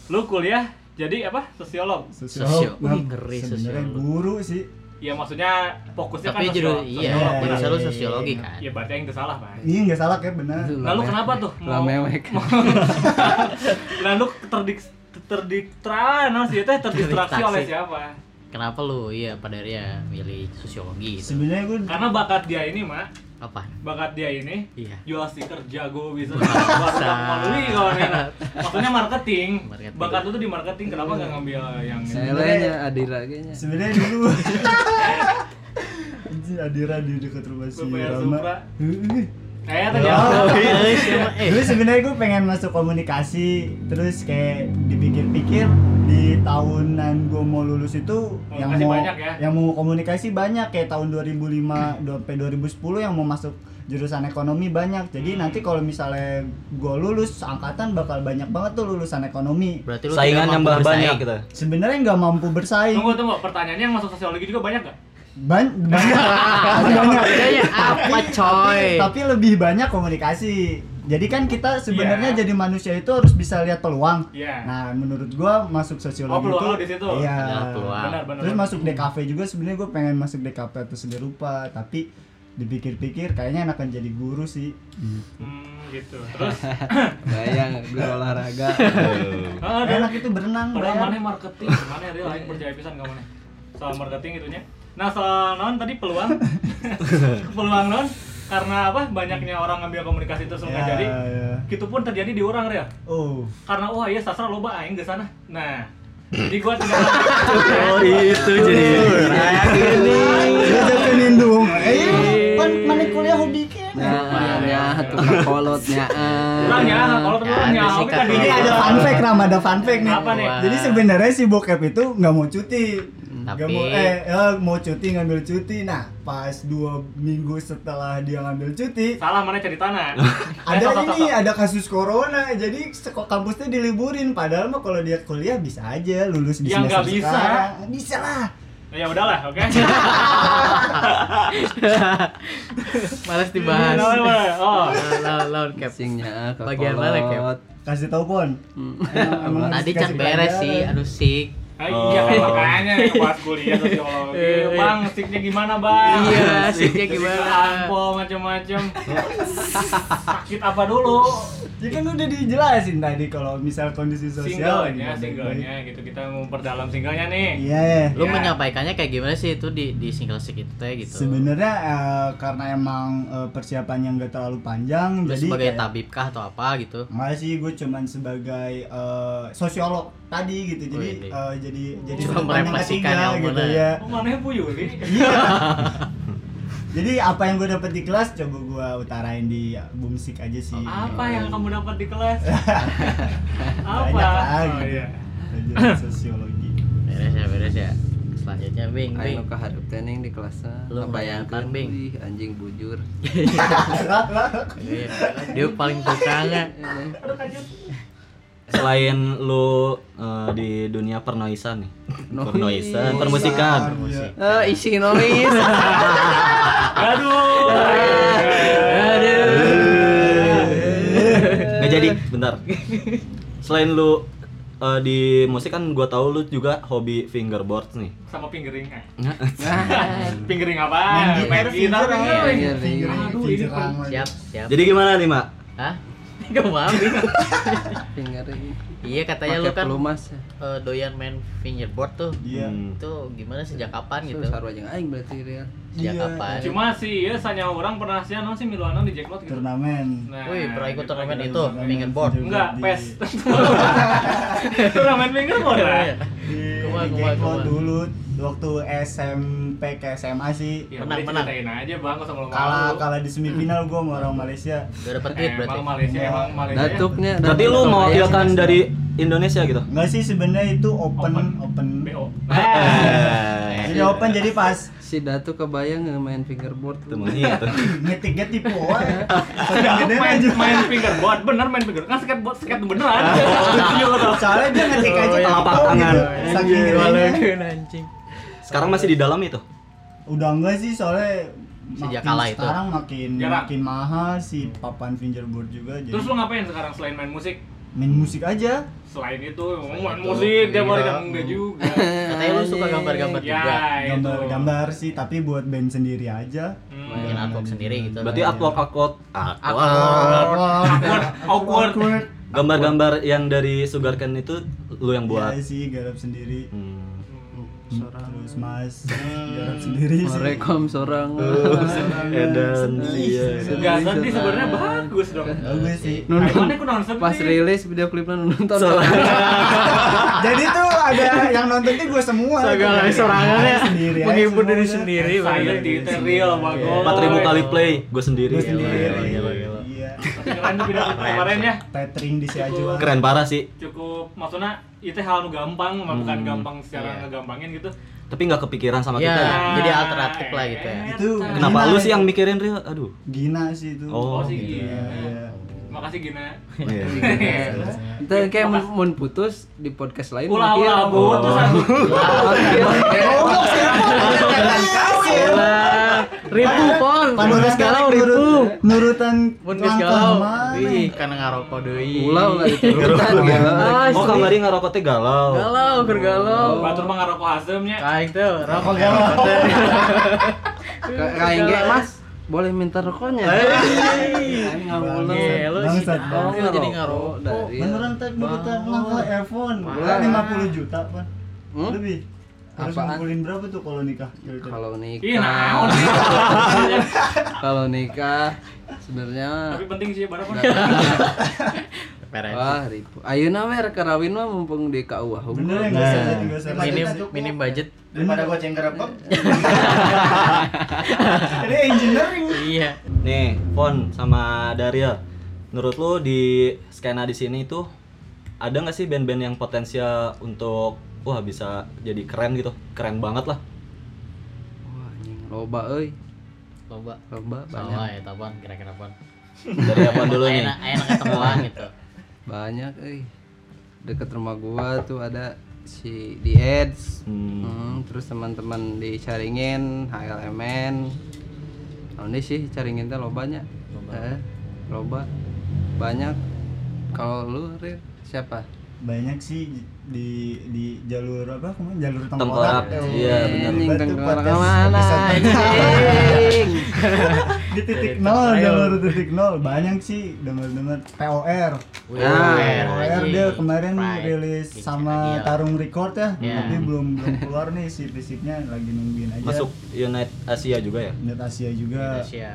Speaker 1: lu kuliah jadi apa sosiolog?
Speaker 3: Sosio-
Speaker 5: nah,
Speaker 3: Wih, ngeri
Speaker 5: sebenarnya
Speaker 3: sosiolog.
Speaker 5: guru sih.
Speaker 1: Ya maksudnya fokusnya
Speaker 3: tapi
Speaker 1: kan
Speaker 3: judul
Speaker 1: sosial-
Speaker 3: iya
Speaker 1: sosiolog,
Speaker 3: jurusan
Speaker 5: Iya,
Speaker 1: benar.
Speaker 3: lu
Speaker 5: iya,
Speaker 3: sosiologi
Speaker 5: iya.
Speaker 3: kan
Speaker 1: Ya berarti yang itu salah, Pak.
Speaker 5: Iya nggak salah kayak benar.
Speaker 1: Lalu kenapa tuh?
Speaker 4: Lah mewek.
Speaker 1: Nah, lu terdik terdiktra, nah sih teh terdistraksi
Speaker 3: Terdistraksi.
Speaker 1: oleh siapa?
Speaker 3: kenapa lu iya pada akhirnya milih sosiologi itu?
Speaker 5: Sebenarnya gue
Speaker 1: Karena bakat dia ini, Mak,
Speaker 3: apa
Speaker 1: bakat dia ini
Speaker 3: iya
Speaker 1: jual stiker jago bisa baru beli iya, kalau Nena. maksudnya marketing.
Speaker 3: Marketing.
Speaker 1: bakat lu tuh di marketing kenapa nggak ngambil yang ini?
Speaker 4: Selenya Adira kayaknya.
Speaker 5: sebenarnya dulu Anjing, Adira di dekat rumah si
Speaker 1: Gua bayar Supra.
Speaker 5: Rama. Heeh.
Speaker 1: eh tadi
Speaker 5: Oh,
Speaker 1: apa?
Speaker 5: iya.
Speaker 3: Eh.
Speaker 5: Dulu sebenarnya gue pengen masuk komunikasi, terus kayak dipikir-pikir di tahunan gue mau lulus itu yang
Speaker 1: masih
Speaker 5: mau
Speaker 1: banyak ya?
Speaker 5: yang mau komunikasi banyak kayak tahun 2005 do- sampai 2010 yang mau masuk jurusan ekonomi banyak.
Speaker 1: Hmm.
Speaker 5: Jadi nanti kalau misalnya gue lulus angkatan bakal banyak banget tuh lulusan ekonomi.
Speaker 3: berarti lu
Speaker 2: saingan
Speaker 3: tidak mampu
Speaker 2: nambah
Speaker 3: bersaing.
Speaker 2: banyak kita.
Speaker 5: Sebenarnya nggak mampu bersaing.
Speaker 1: tunggu tunggu pertanyaannya yang masuk sosiologi juga banyak nggak
Speaker 5: Ban- banyak. banyak.
Speaker 3: bedanya Iya, apa coy
Speaker 5: Tapi, tapi lebih banyak komunikasi. Jadi kan kita sebenarnya
Speaker 1: Iya.
Speaker 5: jadi manusia itu harus bisa lihat peluang.
Speaker 1: Iya.
Speaker 5: Nah, menurut gua masuk
Speaker 1: oh
Speaker 5: sosiologi
Speaker 1: peluang
Speaker 5: itu
Speaker 1: lu di situ
Speaker 5: Iya.
Speaker 3: Adalah Nah, peluang.
Speaker 1: benar benar
Speaker 5: Terus masuk DKV juga sebenarnya gua pengen masuk DKV atau seni rupa, tapi dipikir-pikir kayaknya enakan jadi guru sih.
Speaker 1: hmm, gitu terus
Speaker 4: Bayang guru olahraga.
Speaker 1: ah, ada
Speaker 5: Enak itu berenang,
Speaker 1: Padahal
Speaker 5: bayar.
Speaker 1: mana marketing mana real aing percaya pisan kamu mana soal marketing itunya nah soal non tadi peluang peluang non karena apa banyaknya orang ngambil komunikasi terus nggak
Speaker 5: Ya,
Speaker 1: kan jadi
Speaker 5: ya.
Speaker 1: gitu pun terjadi di orang real
Speaker 5: Oh.
Speaker 1: karena wah iya sastra loba aing ke sana nah jadi gua tidak
Speaker 2: Oh, itu jadi.
Speaker 4: Nah,
Speaker 5: Jadi penindung.
Speaker 3: Iya.
Speaker 5: Eh, pan mana kuliah hobi kan?
Speaker 3: Nah,
Speaker 4: Nyanya tukang kolot
Speaker 1: kurang ya kalau
Speaker 3: Ya,
Speaker 1: terlalu
Speaker 3: ada
Speaker 1: nyawa
Speaker 3: singkat
Speaker 1: kan
Speaker 5: Ini
Speaker 1: ini
Speaker 5: ada
Speaker 1: ada
Speaker 5: fun fact Ram, ada fun fact nih.
Speaker 1: Apa nih?
Speaker 5: Jadi sebenarnya si bokep itu nggak mau cuti. Nggak
Speaker 3: Tapi-
Speaker 5: mau eh eh, mau cuti ngambil cuti. Nah, pas dua minggu setelah dia ngambil cuti,
Speaker 1: salah mana cari tanah Eh,
Speaker 5: ada ini ada kasus corona. Jadi seko- kampusnya diliburin. Padahal mah kalau dia kuliah bisa aja lulus di
Speaker 1: Yang Ya,
Speaker 5: semester
Speaker 1: nggak bisa.
Speaker 5: sekarang. Bisa lah.
Speaker 1: ya udahlah oke
Speaker 3: males dibahas
Speaker 1: Lawan, lawan. oh
Speaker 3: lawan lawan cap
Speaker 4: Singnya ke
Speaker 3: Bagian mana, Kep?
Speaker 4: kolot. Hmm.
Speaker 5: Kasih tahu pon.
Speaker 3: tadi cat beres sih aduh sih
Speaker 1: Ah, iya kan makanya pas kuliah sosiologi
Speaker 3: Eh,
Speaker 1: Iya,
Speaker 3: eh.
Speaker 1: bang sticknya gimana bang
Speaker 3: iya siknya
Speaker 1: Jadi
Speaker 3: gimana
Speaker 1: Ampol macam-macam. Sakit apa dulu?
Speaker 5: ya kan udah dijelasin tadi kalau misal kondisi sosial lagi
Speaker 1: singlenya
Speaker 5: nggak baik-baik.
Speaker 1: singlenya gitu kita memperdalam singlenya nih
Speaker 5: Iya.
Speaker 3: Lu
Speaker 1: Ya.
Speaker 3: menyampaikannya kayak gimana sih itu di di single stick itu teh gitu.
Speaker 5: Sebenarnya eh, karena emang eh, persiapannya nggak terlalu panjang,
Speaker 3: Lu
Speaker 5: jadi
Speaker 3: sebagai
Speaker 5: kayak-
Speaker 3: tabib kah atau apa gitu?
Speaker 5: Nggak sih, gue cuman sebagai eh, sosiolog tadi gitu, jadi
Speaker 3: Wih,
Speaker 5: eh, jadi jadi
Speaker 3: Cuma
Speaker 5: sudut pandang
Speaker 3: merefleksikan
Speaker 5: ketiga
Speaker 3: yang
Speaker 5: gitu
Speaker 3: mana.
Speaker 5: ya.
Speaker 1: oh mana Bu Yuli
Speaker 5: Jadi apa yang gue dapet di kelas coba gue utarain di ya, bumsik aja sih.
Speaker 3: Oh,
Speaker 1: apa yang kamu dapat di kelas
Speaker 5: Banyak
Speaker 1: apa
Speaker 5: lah
Speaker 1: oh,
Speaker 5: gitu.
Speaker 1: iya.
Speaker 5: Pelajaran sosiologi.
Speaker 3: Beres ya, beres ya. Selanjutnya Bing, Bing.
Speaker 4: Ayo ke hadap tening di kelasnya
Speaker 3: Lu bayangkan,
Speaker 4: Ngebayangkeun,
Speaker 3: Bing.
Speaker 4: wih, anjing bujur
Speaker 3: Iya. Dia paling tukangnya.
Speaker 4: Eh,
Speaker 2: Selain lu eh, di dunia pernoisan nih.
Speaker 4: Noise.
Speaker 2: Pernoisan, permusikan.
Speaker 5: Iya.
Speaker 4: Eh, isi noise
Speaker 1: aduh
Speaker 2: Nggak
Speaker 5: Eh.
Speaker 2: jadi, bentar. Selain lu eh, di musik kan gua tahu lu juga hobi fingerboard nih.
Speaker 1: sama pinggering eh.
Speaker 4: Nah,
Speaker 1: pinggering apa
Speaker 5: Main
Speaker 1: pinggering.
Speaker 5: gitar, fingerang,
Speaker 4: fingerang.
Speaker 1: iya, aduh ini
Speaker 5: fingerang.
Speaker 3: Siap, siap.
Speaker 2: Jadi gimana nih, Mak?
Speaker 3: Hah? Gak mau. Bing.
Speaker 4: Finger ini
Speaker 3: Iya katanya lu
Speaker 4: Pakai
Speaker 3: kan
Speaker 4: pelumas ya.
Speaker 3: eh, doyan main fingerboard tuh.
Speaker 5: Iya.
Speaker 2: Hmm.
Speaker 3: Itu gimana sejak kapan gitu?
Speaker 4: Itu saru aja aing berarti dia.
Speaker 3: Sejak
Speaker 5: Iya.
Speaker 3: kapan?
Speaker 1: cuma sih ya sanya orang pernah sih anu sih miluanan di jackpot gitu
Speaker 5: Turnamen.
Speaker 1: nah,
Speaker 3: Wih, pernah ikut
Speaker 5: Iya,
Speaker 1: gitu
Speaker 3: turnamen
Speaker 1: aja.
Speaker 3: itu fingerboard.
Speaker 1: enggak
Speaker 5: Di-
Speaker 1: pes turnamen fingerboard
Speaker 3: Iya,
Speaker 1: lah
Speaker 5: Iya. Di,
Speaker 3: Keluar,
Speaker 5: di
Speaker 3: keluar,
Speaker 5: Gekko
Speaker 3: keluar.
Speaker 5: dulu waktu SMP ke SMA sih
Speaker 1: Ya,
Speaker 3: Menang,
Speaker 1: udah
Speaker 3: menang.
Speaker 1: ceritain aja bang, kok sama lo
Speaker 5: kalah kalah di semifinal gue sama orang Malaysia.
Speaker 3: Gak dapet duit berarti.
Speaker 1: Emang Eh, Malaysia,
Speaker 5: Iya.
Speaker 1: emang Malaysia
Speaker 5: Nah,
Speaker 1: ya.
Speaker 4: Datuknya
Speaker 2: Berarti lu
Speaker 4: datuk.
Speaker 2: mewakilkan dari Indonesia gitu.
Speaker 5: Enggak sih sebenarnya itu open open.
Speaker 1: BO
Speaker 2: Eh,
Speaker 5: Jadi open jadi pas
Speaker 4: si Datuk kebayang main fingerboard tuh.
Speaker 2: Temennya itu. iya
Speaker 5: ngetiknya tipe wae.
Speaker 1: Jangan
Speaker 5: Gede
Speaker 1: main,
Speaker 5: aja.
Speaker 1: main fingerboard, bener main fingerboard Kan skateboard, skate beneran
Speaker 5: Ah.
Speaker 1: Iya, lo tau.
Speaker 5: Soalnya dia ngetik aja
Speaker 2: iya. Telapak
Speaker 5: tipe
Speaker 2: tangan.
Speaker 5: gitu. Saking gedenya.
Speaker 3: anjing.
Speaker 2: Sekarang masih di dalam itu.
Speaker 5: Udah enggak sih soalnya
Speaker 3: Sejak
Speaker 5: makin
Speaker 3: kalah itu.
Speaker 5: Sekarang makin
Speaker 1: Jarang.
Speaker 5: makin mahal si papan fingerboard juga jadi
Speaker 1: Terus Nah, lo ngapain sekarang selain main musik?
Speaker 5: main musik aja.
Speaker 1: Selain itu,
Speaker 3: Selain
Speaker 1: main
Speaker 3: itu,
Speaker 1: musik, dia
Speaker 3: iya.
Speaker 1: baru kan enggak juga
Speaker 3: Katanya lu suka gambar-gambar juga.
Speaker 1: Ya, itu
Speaker 5: Gambar-gambar sih tapi buat band sendiri aja.
Speaker 1: Hmm.
Speaker 3: Bikin artwork sendiri gitu.
Speaker 2: Berarti
Speaker 5: Iya.
Speaker 2: artwork artwork artwork.
Speaker 5: Awkward.
Speaker 1: Awkward.
Speaker 2: Gambar-gambar yang dari Sugarcane itu lu yang buat.
Speaker 5: Iya sih garap sendiri.
Speaker 2: Hmm.
Speaker 5: Terus Mas
Speaker 1: Iya.
Speaker 5: garap sendiri sih.
Speaker 4: Merekom seorang.
Speaker 5: Eh.
Speaker 2: Edan Ya, iya. Nah.
Speaker 1: Enggak, tapi sebenarnya bagus dong
Speaker 5: Bagus Oh, sih.
Speaker 1: Aimannya kurang sepi
Speaker 4: Pas rilis video klipnya nonton.
Speaker 5: Jadi tuh ada yang nonton tuh gue semua.
Speaker 3: Segala sorangannya
Speaker 5: Sendiri aja
Speaker 3: menghibur diri
Speaker 5: semuanya.
Speaker 3: sendiri, Bang.
Speaker 1: Saya di real, Bang Gol.
Speaker 2: 4000 kali play gue sendiri.
Speaker 5: Gue sendiri.
Speaker 2: Gila, gila, gila.
Speaker 5: Iya.
Speaker 1: Keren tuh video kemarin ya
Speaker 5: Petring di Siajuan.
Speaker 2: Keren parah sih.
Speaker 1: cukup maksudnya itu hal nu gampang mah bukan
Speaker 2: Hmm.
Speaker 1: gampang secara
Speaker 3: Iya.
Speaker 1: ngegampangin gitu Ah,
Speaker 2: Tapi nggak kepikiran sama
Speaker 3: Iya,
Speaker 2: kita. ya?
Speaker 3: jadi alternatif lah gitu ya.
Speaker 5: Itu
Speaker 2: Kenapa
Speaker 5: Gina
Speaker 2: lu
Speaker 5: ya.
Speaker 2: sih yang mikirin Rio? Aduh.
Speaker 5: Gina sih itu.
Speaker 1: Oh,
Speaker 2: Oh,
Speaker 1: sih
Speaker 5: Gina,
Speaker 1: Gina.
Speaker 5: iya.
Speaker 1: makasih Gina
Speaker 2: Iya.
Speaker 4: Iya. Itu kayak mun- mun putus di podcast lain.
Speaker 1: ulah
Speaker 4: mungkin.
Speaker 1: ulah bu
Speaker 2: Oh.
Speaker 1: terus aku
Speaker 3: Ribu pon,
Speaker 5: Panuras galau ribu. Nurutan
Speaker 3: Podcast
Speaker 5: langkah
Speaker 3: galau.
Speaker 5: mana?
Speaker 3: Wih, karena ngarokok deui.
Speaker 4: Ulah ulah diterutan.
Speaker 3: Ah,
Speaker 2: Oh, kamari ngerokok teh galau.
Speaker 3: Galau, keur galau.
Speaker 1: batur mah ngarokok hasemnya
Speaker 3: Kayak tuh, rokok
Speaker 5: galau.
Speaker 3: galau. teh.
Speaker 4: Kayak ge Mas, boleh minta rokoknya. Aing
Speaker 5: Bangsat,
Speaker 3: Iya, lu sih
Speaker 5: bangsat,
Speaker 3: galau,
Speaker 5: bangsat.
Speaker 3: jadi ngarokok.
Speaker 4: dari.
Speaker 5: Oh, Beneran tak nurutan langkah iPhone.
Speaker 4: Wah.
Speaker 5: 50 juta kan.
Speaker 4: Hmm?
Speaker 5: Lebih. Harus
Speaker 4: Apaan?
Speaker 5: ngumpulin berapa tuh kalau nikah? ya Kira-kira.
Speaker 4: Kalau
Speaker 1: ih
Speaker 4: nikah,
Speaker 1: Iya, naon sih
Speaker 4: kalau nikah sebenarnya mah-
Speaker 1: tapi penting sih berapa
Speaker 3: Peres.
Speaker 4: Wah, ribu. Ayeuna we rek karawin mah mumpung di KUA.
Speaker 5: Bener
Speaker 4: unggul.
Speaker 5: ya nggak usah
Speaker 2: Nah.
Speaker 5: jadi nggak usah.
Speaker 3: Minim minim budget.
Speaker 5: Daripada goceng kerebek. Ini engineering.
Speaker 3: Iya.
Speaker 2: Nih, Fon sama Daryl. Menurut lu di skena di sini itu ada nggak sih band-band yang potensial untuk wah bisa jadi keren gitu, keren banget lah.
Speaker 4: Wah, anjing. Loba euy.
Speaker 3: Coba.
Speaker 4: Loba banyak.
Speaker 3: Salah ya, tapan kira-kira pon. Iya,
Speaker 2: Dari apa dulu nih?
Speaker 3: Enak, enak ketemuan gitu.
Speaker 4: Banyak euy. Deket rumah gua tuh ada si The Eds.
Speaker 2: Hmm.
Speaker 4: Hmm, terus teman-teman di Caringin, HLMN. Nah, ini sih Caringin teh lobanya. Eh, loba. Banyak. Kalau lu Rir, siapa?
Speaker 5: Banyak sih di di jalur apa kemarin jalur
Speaker 2: Tengkorak.
Speaker 4: Iya,
Speaker 5: tengkorak.
Speaker 2: Iya, benar.
Speaker 4: Anjing
Speaker 5: Batu
Speaker 4: tengkorak
Speaker 5: patas
Speaker 4: mana?
Speaker 5: episode.
Speaker 4: Anjing.
Speaker 5: di titik
Speaker 3: Jadi
Speaker 5: nol
Speaker 3: terkenal.
Speaker 5: jalur titik nol banyak sih dengar dengar POR
Speaker 3: Wih,
Speaker 4: Nah,
Speaker 3: keren,
Speaker 5: POR
Speaker 3: anjing.
Speaker 5: Oh, dia kemarin
Speaker 3: Pride.
Speaker 5: rilis
Speaker 3: Bikin lagi
Speaker 5: sama
Speaker 3: ya.
Speaker 5: Tarung Record ya
Speaker 3: Iya.
Speaker 5: tapi belum belum keluar nih si prinsipnya lagi nungguin aja
Speaker 2: Masuk United Asia juga ya?
Speaker 5: Net Asia
Speaker 1: Iya.
Speaker 5: juga
Speaker 3: Indonesia.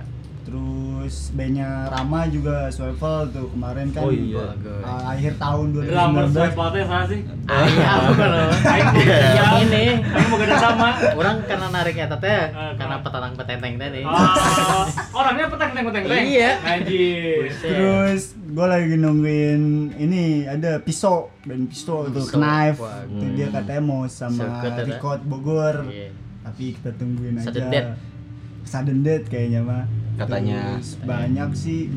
Speaker 5: terus bandnya Rama juga Swivel tuh kemarin kan
Speaker 2: Oh iya.
Speaker 3: Bagus.
Speaker 5: uh, akhir tahun
Speaker 1: Drummer
Speaker 5: 2019
Speaker 1: swipe saya sih. iya,
Speaker 3: Ayah, apa lo?
Speaker 1: Aing
Speaker 3: Ah. Yang
Speaker 1: mau
Speaker 3: ini.
Speaker 1: Aing mau gede sama.
Speaker 3: Orang karena narik eta teh,
Speaker 1: Eh,
Speaker 3: karena
Speaker 1: kenapa?
Speaker 3: petanang petenteng tadi.
Speaker 1: Ah, orangnya petang teng petang teng.
Speaker 3: Iya.
Speaker 1: Anjir.
Speaker 5: terus gue lagi nungguin ini ada pisau dan pisau
Speaker 3: Hmm,
Speaker 5: tuh
Speaker 3: Pisau,
Speaker 5: knife
Speaker 3: wah,
Speaker 5: Itu dia katanya mau sama
Speaker 3: Seket, ya, Kak?
Speaker 5: Rikot Bogor
Speaker 3: Iya.
Speaker 5: tapi kita tungguin aja
Speaker 3: Sudden death.
Speaker 5: sudden death kayaknya mah
Speaker 2: Katanya.
Speaker 5: Terus banyak sih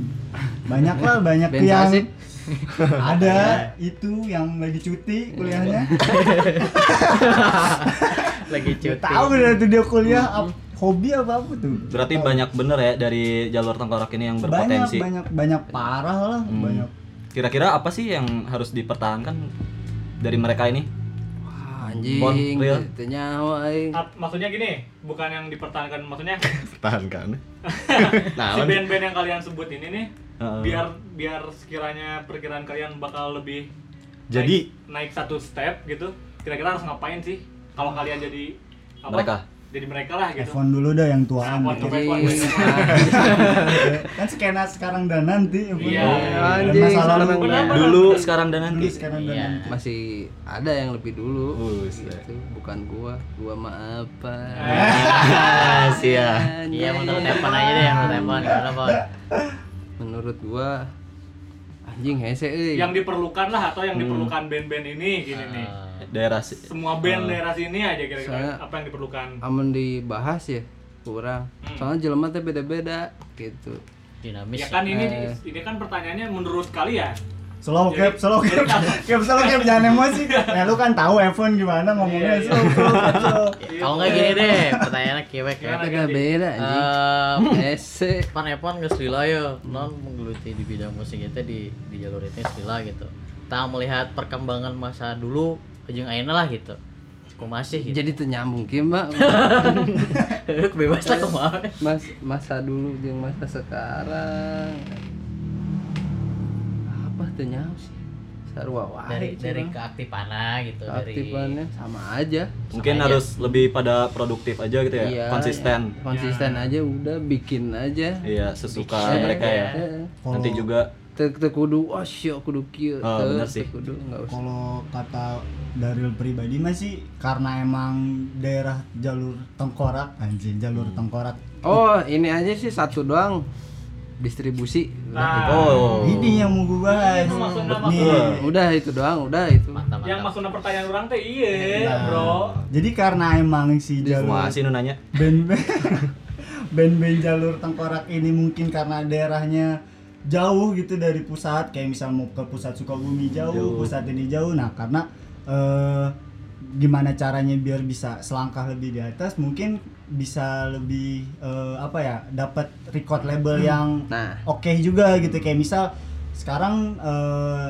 Speaker 5: banyak lah banyak
Speaker 4: Band
Speaker 5: yang
Speaker 4: asik.
Speaker 5: ada
Speaker 3: ya?
Speaker 5: itu yang lagi
Speaker 3: Iya.
Speaker 5: cuti kuliahnya
Speaker 3: Lagi
Speaker 5: Gak
Speaker 3: cuti. Hmm.
Speaker 5: tahu deh tuh dia kuliah ap- hobi apa apa tuh
Speaker 2: Berarti
Speaker 5: Gak tahu.
Speaker 2: banyak bener ya dari jalur tengkorak ini yang
Speaker 5: banyak
Speaker 2: berpotensi.
Speaker 5: banyak banyak parah lah
Speaker 2: Hmm.
Speaker 5: banyak
Speaker 2: Kira-kira apa sih yang harus dipertahankan dari mereka ini?
Speaker 4: Wah,
Speaker 2: Bon,
Speaker 4: anjing,
Speaker 2: real.
Speaker 4: itu nyawa eh. aing.
Speaker 1: Ap- Maksudnya gini, bukan yang dipertahankan maksudnya
Speaker 2: Pertahankan.
Speaker 1: si band-band yang kalian sebut ini nih
Speaker 2: Nah, Heeh.
Speaker 1: biar biar sekiranya perkiraan kalian bakal lebih
Speaker 2: Jadi-
Speaker 1: naik, naik satu step gitu. Kira-kira harus ngapain sih kalau kalian jadi apa?
Speaker 2: Mereka.
Speaker 1: Jadi mereka lah gitu.
Speaker 5: Telepon dulu dah yang tuaan gitu.
Speaker 1: Telepon,
Speaker 5: dikit.
Speaker 1: telepon.
Speaker 2: Nah,
Speaker 5: kan skena sekarang dan nanti ya,
Speaker 1: Iya,
Speaker 5: Dan
Speaker 4: anjing,
Speaker 5: masa lalu.
Speaker 4: sekarang dan
Speaker 1: nanti.
Speaker 2: Dulu, sekarang dan
Speaker 5: dulu
Speaker 2: nanti.
Speaker 5: sekarang dan
Speaker 3: Iya.
Speaker 5: nanti
Speaker 4: Masih ada yang lebih dulu.
Speaker 2: Buset. Eh.
Speaker 4: Gitu. Bukan gua, gua mah apa?
Speaker 2: Asia.
Speaker 3: Iya, mau tahu telepon aja deh, mau telepon, gimana, Bon?
Speaker 4: Menurut gua anjing hese eh. euy.
Speaker 1: Yang diperlukan lah atau yang
Speaker 2: Hmm.
Speaker 1: diperlukan band-band ini gini nih.
Speaker 2: Ah. Daerah si-
Speaker 1: Semua
Speaker 2: Ah.
Speaker 1: band daerah sini aja kira-kira
Speaker 4: Saya-
Speaker 1: apa yang diperlukan.
Speaker 4: amun dibahas ya kurang.
Speaker 2: Hmm.
Speaker 4: Soalnya jelema teh beda-beda gitu.
Speaker 3: Dinamis.
Speaker 1: Ya kan ini ini kan pertanyaannya menurut kalian.
Speaker 5: slow cap slow cap cap slow cap jangan emosi ya lu kan tahu Evan gimana ngomongnya
Speaker 1: Iya, iya.
Speaker 5: slow slow cap, slow
Speaker 3: Kalau nggak gini deh, pertanyaannya kiwek ya.
Speaker 1: Ya, Gimana?
Speaker 4: Beda-beda anjing.
Speaker 2: Ah.
Speaker 3: Eh,
Speaker 4: Hese.
Speaker 3: Pan Epon nggak Slila ya, non menggeluti di bidang musik itu di di jalur itu Slila gitu. Tak melihat perkembangan masa dulu jeung ayeuna lah gitu. Kumasih gitu.
Speaker 4: Jadi teu nyambung kieu, Mbak.
Speaker 3: bebas lah kumaha.
Speaker 4: Mas masa dulu jeung masa sekarang. Apa teu nyaho sih? Sarua
Speaker 3: Dari
Speaker 4: wae.
Speaker 3: dari
Speaker 4: cuma.
Speaker 3: keaktifannya gitu, dari
Speaker 4: keaktifannya sama aja.
Speaker 2: Mungkin
Speaker 3: aja. Iya.
Speaker 2: harus lebih pada produktif aja gitu ya, konsisten.
Speaker 4: ya. Konsisten aja udah bikin aja.
Speaker 2: Iya, sesuka
Speaker 4: Eh,
Speaker 2: mereka ya.
Speaker 4: eh, eh.
Speaker 5: Oh.
Speaker 2: Nanti juga
Speaker 4: Teu teu kudu oh syok kudu kieu.
Speaker 2: Ah,
Speaker 4: Teu,
Speaker 2: bener
Speaker 4: teu
Speaker 2: sih.
Speaker 4: Kudu enggak usah.
Speaker 5: kalau kata Daril pribadi masih karena emang daerah jalur tengkorak anjing jalur
Speaker 1: Hmm.
Speaker 5: tengkorak
Speaker 4: Oh, ini aja sih satu doang. Distribusi.
Speaker 1: Nah,
Speaker 2: oh.
Speaker 5: ini yang mau gue bahas
Speaker 1: Iya,
Speaker 5: Iya.
Speaker 1: Itu maksudnya,
Speaker 2: iya.
Speaker 5: nih
Speaker 4: Udah itu doang, udah itu.
Speaker 3: mantap
Speaker 1: yang
Speaker 3: mantap.
Speaker 1: maksudnya pertanyaan orang teh iya,
Speaker 2: Nah.
Speaker 1: Bro.
Speaker 5: jadi karena emang si jalur
Speaker 2: Masih nu nanya.
Speaker 5: band-band band-band jalur tengkorak ini mungkin karena daerahnya jauh gitu dari pusat kayak misal mau ke pusat Sukabumi jauh,
Speaker 2: Jauh.
Speaker 5: pusat ini jauh nah karena eh, gimana caranya biar bisa selangkah lebih di atas mungkin bisa lebih eh, apa ya dapat record label yang
Speaker 4: Nah,
Speaker 5: oke juga gitu kayak misal sekarang eh,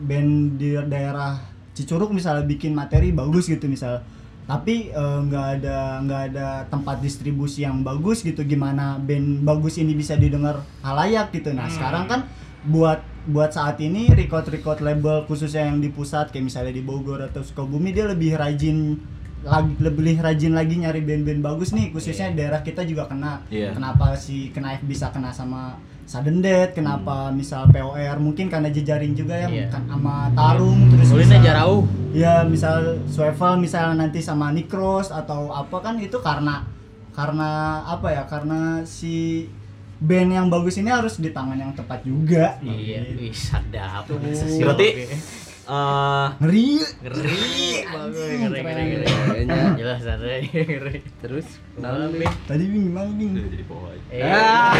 Speaker 5: band di daerah Cicurug misalnya bikin materi bagus gitu misal tapi eh, nggak ada nggak ada tempat distribusi yang bagus gitu gimana band bagus ini bisa didengar halayak gitu nah sekarang kan buat buat saat ini record record label khususnya yang di pusat kayak misalnya di Bogor atau Sukabumi dia lebih rajin lagi lebih rajin lagi nyari band-band bagus nih khususnya daerah kita juga kena
Speaker 2: Iya.
Speaker 5: kenapa si Knife bisa kena sama sudden death kenapa misal POR mungkin karena jejaring juga ya
Speaker 3: Hmm. Iya.
Speaker 5: kan sama tarung terus
Speaker 3: Kulitnya
Speaker 5: misal-
Speaker 3: jarau.
Speaker 5: ya misal Swivel misal nanti sama Nikros atau apa kan itu karena karena apa ya karena si band yang bagus ini harus di tangan yang tepat juga
Speaker 3: Iya, wih sadap.
Speaker 2: Berarti eh,
Speaker 5: ngeri
Speaker 3: ngeri, bagus,
Speaker 5: Anjing,
Speaker 3: ngeri, ngeri, ngeri.
Speaker 4: kayaknya
Speaker 3: Jelas ngeri, ngeri.
Speaker 4: terus
Speaker 3: Nah,
Speaker 4: kenapa nih?
Speaker 5: tadi bing gimana bing
Speaker 2: udah jadi pohon.
Speaker 3: Eh,
Speaker 4: Ah.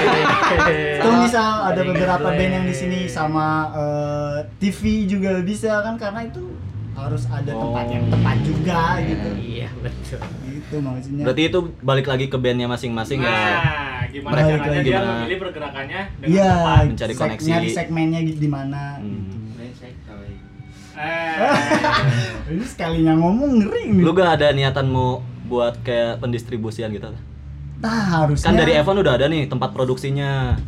Speaker 3: eh.
Speaker 5: Itu misal ada
Speaker 3: Jadi
Speaker 5: beberapa
Speaker 3: ngeblend.
Speaker 5: band yang di sini sama eh, TV juga bisa kan karena itu harus ada tempat
Speaker 2: Oh.
Speaker 5: yang tepat juga gitu.
Speaker 3: Iya, betul.
Speaker 5: Gitu maksudnya.
Speaker 2: Berarti itu balik lagi ke bandnya masing-masing
Speaker 3: Iya.
Speaker 2: ya.
Speaker 1: Nah, gimana
Speaker 5: Mereka
Speaker 1: caranya
Speaker 5: lagi
Speaker 1: dia
Speaker 2: gimana?
Speaker 1: memilih pergerakannya dengan
Speaker 5: Iya,
Speaker 1: tepat?
Speaker 2: mencari
Speaker 5: seg-
Speaker 2: koneksi.
Speaker 5: Nyari segmennya gitu di mana.
Speaker 2: Hmm.
Speaker 1: Eh,
Speaker 5: Gitu. Ini sekalinya ngomong ngeri nih.
Speaker 2: Lu gak ada niatan mau buat kayak pendistribusian gitu?
Speaker 5: Tah harusnya
Speaker 2: Kan dari Evan udah ada nih tempat produksinya.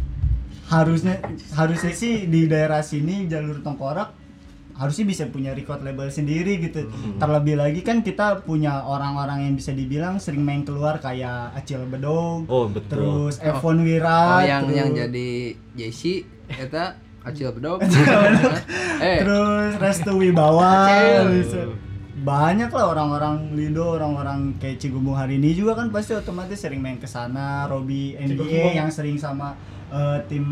Speaker 5: harusnya harusnya sih di daerah sini jalur tengkorak harusnya bisa punya record label sendiri gitu.
Speaker 2: Hmm.
Speaker 5: Terlebih lagi kan kita punya orang-orang yang bisa dibilang sering main keluar kayak Acil Bedog,
Speaker 2: Oh, betul.
Speaker 5: terus Evan
Speaker 4: Oh
Speaker 5: Wira,
Speaker 4: yang
Speaker 5: terus,
Speaker 4: yang jadi JC eta Acil Bedog. eh,
Speaker 5: terus Restu Wibawa,
Speaker 4: Acil.
Speaker 5: bisa- banyak lah orang-orang Lido, orang-orang kayak Cigumu hari ini juga kan pasti otomatis sering main ke sana, Robi NBA yang sering sama eh, tim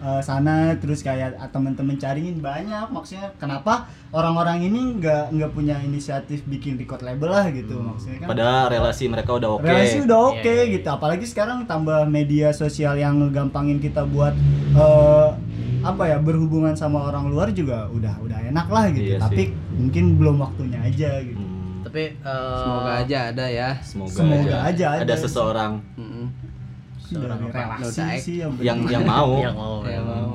Speaker 5: eh, sana, terus kayak ah, teman-teman cariin banyak, maksudnya kenapa orang-orang ini nggak nggak punya inisiatif bikin record label lah gitu maksudnya kan
Speaker 2: Padahal relasi mereka udah oke.
Speaker 5: relasi udah oke
Speaker 3: Iya, iya, iya.
Speaker 5: gitu apalagi sekarang tambah media sosial yang ngegampangin kita buat eh, apa ya berhubungan sama orang luar juga udah udah enak lah gitu
Speaker 2: Iya
Speaker 5: tapi
Speaker 2: sih.
Speaker 5: mungkin belum waktunya aja gitu
Speaker 2: Hmm,
Speaker 3: Tapi eh,
Speaker 4: semoga aja ada ya.
Speaker 2: Semoga,
Speaker 5: Semoga aja
Speaker 2: ada.
Speaker 5: ada.
Speaker 2: seseorang
Speaker 4: Mm-mm.
Speaker 5: dari
Speaker 3: Seorang
Speaker 5: relasi
Speaker 4: Nodaek.
Speaker 5: sih yang,
Speaker 2: yang
Speaker 5: penting.
Speaker 2: yang mau.
Speaker 3: yang mau.
Speaker 5: Iya,
Speaker 4: Ya, mau.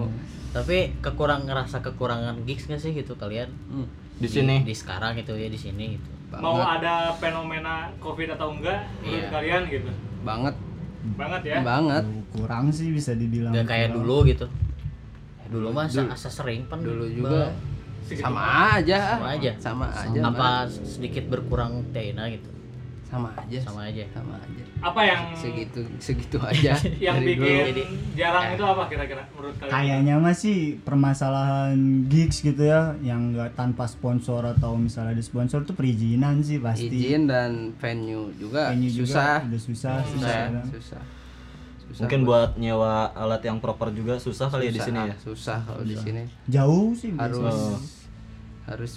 Speaker 3: Tapi kekurang ngerasa kekurangan gigs nggak sih gitu kalian?
Speaker 4: Hmm,
Speaker 2: Di sini.
Speaker 3: Di, sekarang gitu ya di sini gitu.
Speaker 1: mau
Speaker 4: banget,
Speaker 1: ada fenomena covid atau enggak menurut
Speaker 3: Iya.
Speaker 1: kalian gitu
Speaker 4: banget,
Speaker 1: banget ya
Speaker 4: banget.
Speaker 5: kurang sih bisa dibilang
Speaker 3: Gak kayak
Speaker 5: kurang.
Speaker 3: dulu gitu. Dulu mah asa, asa sering pan.
Speaker 4: Dulu
Speaker 3: Bang.
Speaker 4: juga
Speaker 1: Sedikit
Speaker 4: sama
Speaker 1: banget.
Speaker 4: aja.
Speaker 3: Sama aja.
Speaker 4: Sama aja.
Speaker 3: Apa sedikit berkurang Tiana gitu.
Speaker 4: Sama aja.
Speaker 3: Sama aja.
Speaker 4: Sama aja.
Speaker 1: apa yang
Speaker 4: Segitu segitu aja.
Speaker 1: Hmm. yang bikin
Speaker 4: dari dulu.
Speaker 3: Jadi-
Speaker 1: jarang
Speaker 3: Ya.
Speaker 1: itu apa kira-kira menurut kalian
Speaker 5: kayaknya masih permasalahan gigs gitu ya yang nggak tanpa sponsor atau misalnya ada sponsor tuh perizinan sih pasti
Speaker 4: izin dan venue juga
Speaker 5: Venue juga
Speaker 4: susah.
Speaker 5: udah susah
Speaker 4: susah,
Speaker 5: kan.
Speaker 4: susah. Susah
Speaker 2: Mungkin buat nyewa alat yang proper juga susah kali ya di
Speaker 4: susah, ah.
Speaker 2: sini ya.
Speaker 4: Susah kalau di sini.
Speaker 5: jauh sih biasanya.
Speaker 4: harus harus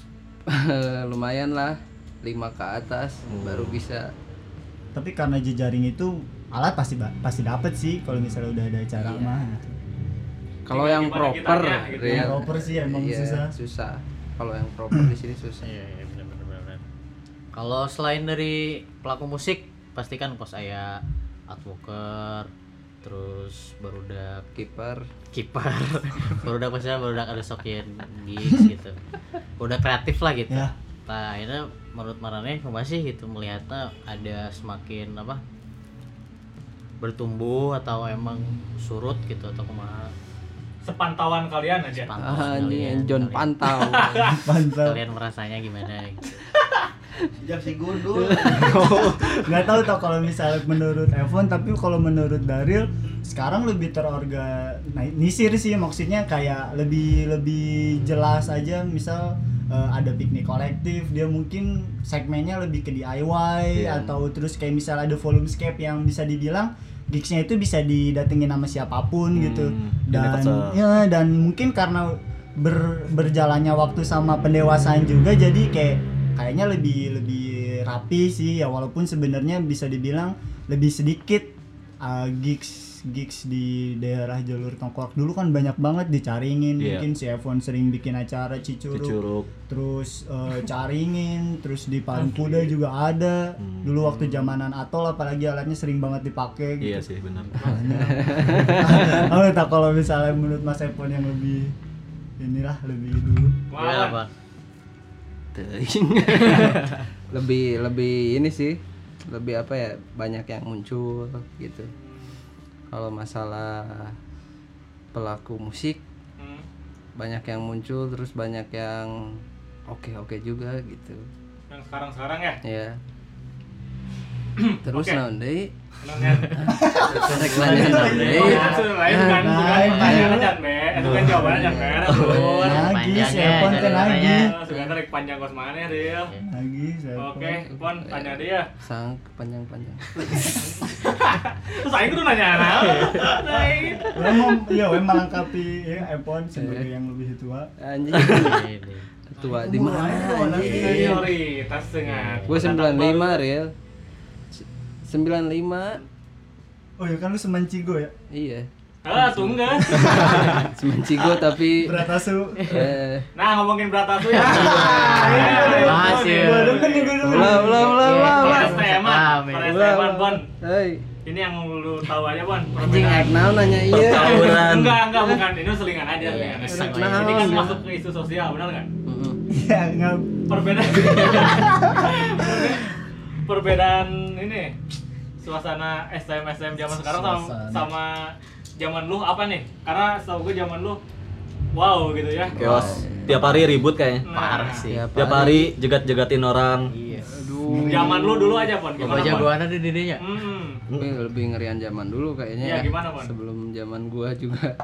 Speaker 4: lumayan lah lima ke atas baru bisa
Speaker 5: tapi karena jejaring itu alat pasti ba- pasti dapet sih kalau misalnya udah ada acara
Speaker 2: Iya.
Speaker 5: mah gitu.
Speaker 4: kalau
Speaker 1: Tinggal
Speaker 4: yang
Speaker 1: gimana kitanya,
Speaker 4: proper
Speaker 1: gitu.
Speaker 4: Rian.
Speaker 5: ya, Yang proper sih emang
Speaker 4: Iya,
Speaker 5: susah.
Speaker 4: susah kalau yang proper di sini susah
Speaker 3: Iya, iya, benar, benar, benar, benar. Kalau selain dari pelaku musik, pastikan pos saya advoker, terus barudak
Speaker 4: kiper
Speaker 3: kiper, barudak pastinya barudak ada sokin gigs gitu. Udah kreatif lah gitu.
Speaker 5: Ya.
Speaker 3: Nah, ini menurut Marane gimana sih gitu melihatnya ada semakin apa? bertumbuh atau emang surut gitu atau kumaha
Speaker 1: sepantauan kalian aja
Speaker 3: Pantau
Speaker 4: ah ini
Speaker 5: ya,
Speaker 3: sekalian,
Speaker 4: John
Speaker 3: kalian,
Speaker 4: Pantau
Speaker 5: mantap
Speaker 3: kalian merasanya gimana gitu
Speaker 6: Sejak si gundul.
Speaker 5: nggak tahu tau kalau misalnya menurut Evan tapi kalau menurut Daril sekarang lebih terorganisir sih maksudnya kayak lebih lebih jelas aja misal eh, ada piknik kolektif dia mungkin segmennya lebih ke DIY
Speaker 2: Iya.
Speaker 5: atau terus kayak misalnya ada volumescape yang bisa dibilang gigsnya itu bisa didatengin sama siapapun gitu
Speaker 2: Hmm,
Speaker 5: dan
Speaker 2: universal.
Speaker 5: ya dan mungkin karena ber- berjalannya waktu sama pendewasaan juga jadi kayak kayaknya lebih lebih rapi sih ya walaupun sebenarnya bisa dibilang lebih sedikit uh, gigs gigs di daerah jalur tengkorak dulu kan banyak banget dicaringin
Speaker 2: Iya.
Speaker 5: mungkin si Evon sering bikin acara cicuruk,
Speaker 2: Cicuruk.
Speaker 5: terus uh, caringin terus di Parung Kuda juga ada
Speaker 2: Hmm.
Speaker 5: dulu waktu zamanan atol apalagi alatnya sering banget dipakai gitu
Speaker 2: Iya sih benar.
Speaker 5: Oh, tak kalau misalnya menurut Mas Epon yang lebih inilah lebih dulu.
Speaker 3: Iya,
Speaker 1: Malah
Speaker 3: Bang.
Speaker 4: Teuing. lebih lebih ini sih lebih apa ya banyak yang muncul gitu kalau masalah pelaku musik
Speaker 1: Hmm.
Speaker 4: banyak yang muncul terus banyak yang oke oke juga gitu
Speaker 1: yang sekarang sekarang ya
Speaker 4: ya terus
Speaker 1: Oke.
Speaker 4: naon deui?
Speaker 1: Nongan.
Speaker 4: Terus nanya naon deui?
Speaker 1: Oh, itu lain kan
Speaker 5: Nah,
Speaker 1: bukan
Speaker 5: iya.
Speaker 1: pertanyaannya Jan Mer. itu kan jawabannya Jan Mer, tuh.
Speaker 5: Lagi
Speaker 3: panjang
Speaker 5: si
Speaker 3: ya,
Speaker 5: Epon
Speaker 3: jangan
Speaker 5: kan lagi.
Speaker 1: Eh, sudah tarik panjang kos mana Ril
Speaker 5: Lagi si Epon.
Speaker 1: oke Pon tanya dia
Speaker 4: sang panjang panjang
Speaker 1: terus aing kudu nanya naon?
Speaker 5: Iya.
Speaker 1: Lain.
Speaker 5: Orang mau iya we melengkapi ya Epon sebagai yang lebih tua. Oh, iya,
Speaker 4: anjing
Speaker 3: Ini.
Speaker 4: tua Iya. di mana Iya. anjing
Speaker 1: prioritas dengan
Speaker 4: gue sembilan lima real sembilan lima
Speaker 5: Oh ya kan lu semen Cigo ya.
Speaker 4: iya
Speaker 1: ah tunggal
Speaker 4: semencigo tapi
Speaker 5: Beratasu.
Speaker 4: eh
Speaker 1: nah ngomongin beratasu
Speaker 5: Iya.
Speaker 1: ya
Speaker 3: Makasih.
Speaker 5: Gua demen nih, gua demen.
Speaker 4: ulah ulah
Speaker 3: Iya,
Speaker 4: ulah ulah ulah
Speaker 1: Peres teman,
Speaker 3: Paham, ya.
Speaker 1: peres
Speaker 4: Ulah,
Speaker 1: teman,
Speaker 4: ulah.
Speaker 1: Bon. ya?
Speaker 4: Hei,
Speaker 1: Ini yang lu tahu aja, Bon.
Speaker 4: anjing Iya.
Speaker 1: Perbedaan.
Speaker 4: aek naon nanya iya
Speaker 2: Pertauran.
Speaker 1: Enggak, enggak, bukan. Ini selingan aja. selingan aja.
Speaker 3: Enak
Speaker 1: Ini kan
Speaker 4: naon, ya.
Speaker 1: masuk ke isu sosial, benar nggak?
Speaker 4: Mm-mm.
Speaker 5: Ya enggak
Speaker 1: Perbedaan. Perbedaan ini suasana STM STM zaman sekarang sama,
Speaker 5: Suasana.
Speaker 1: sama zaman lu apa nih? Karena setahu gue zaman lu wow gitu ya.
Speaker 2: Chaos. Tiap hari ribut kayaknya.
Speaker 1: Nah,
Speaker 3: sih.
Speaker 2: Tiap hari jegat-jegatin orang.
Speaker 3: Iya.
Speaker 1: zaman lu dulu aja pon
Speaker 3: Gua
Speaker 1: gimana pon?
Speaker 3: jagoan ada dirinya.
Speaker 1: Hmm.
Speaker 4: Tapi lebih ngerian zaman dulu kayaknya
Speaker 1: Iya,
Speaker 4: ya.
Speaker 1: gimana, Pon?
Speaker 4: Sebelum zaman gua juga.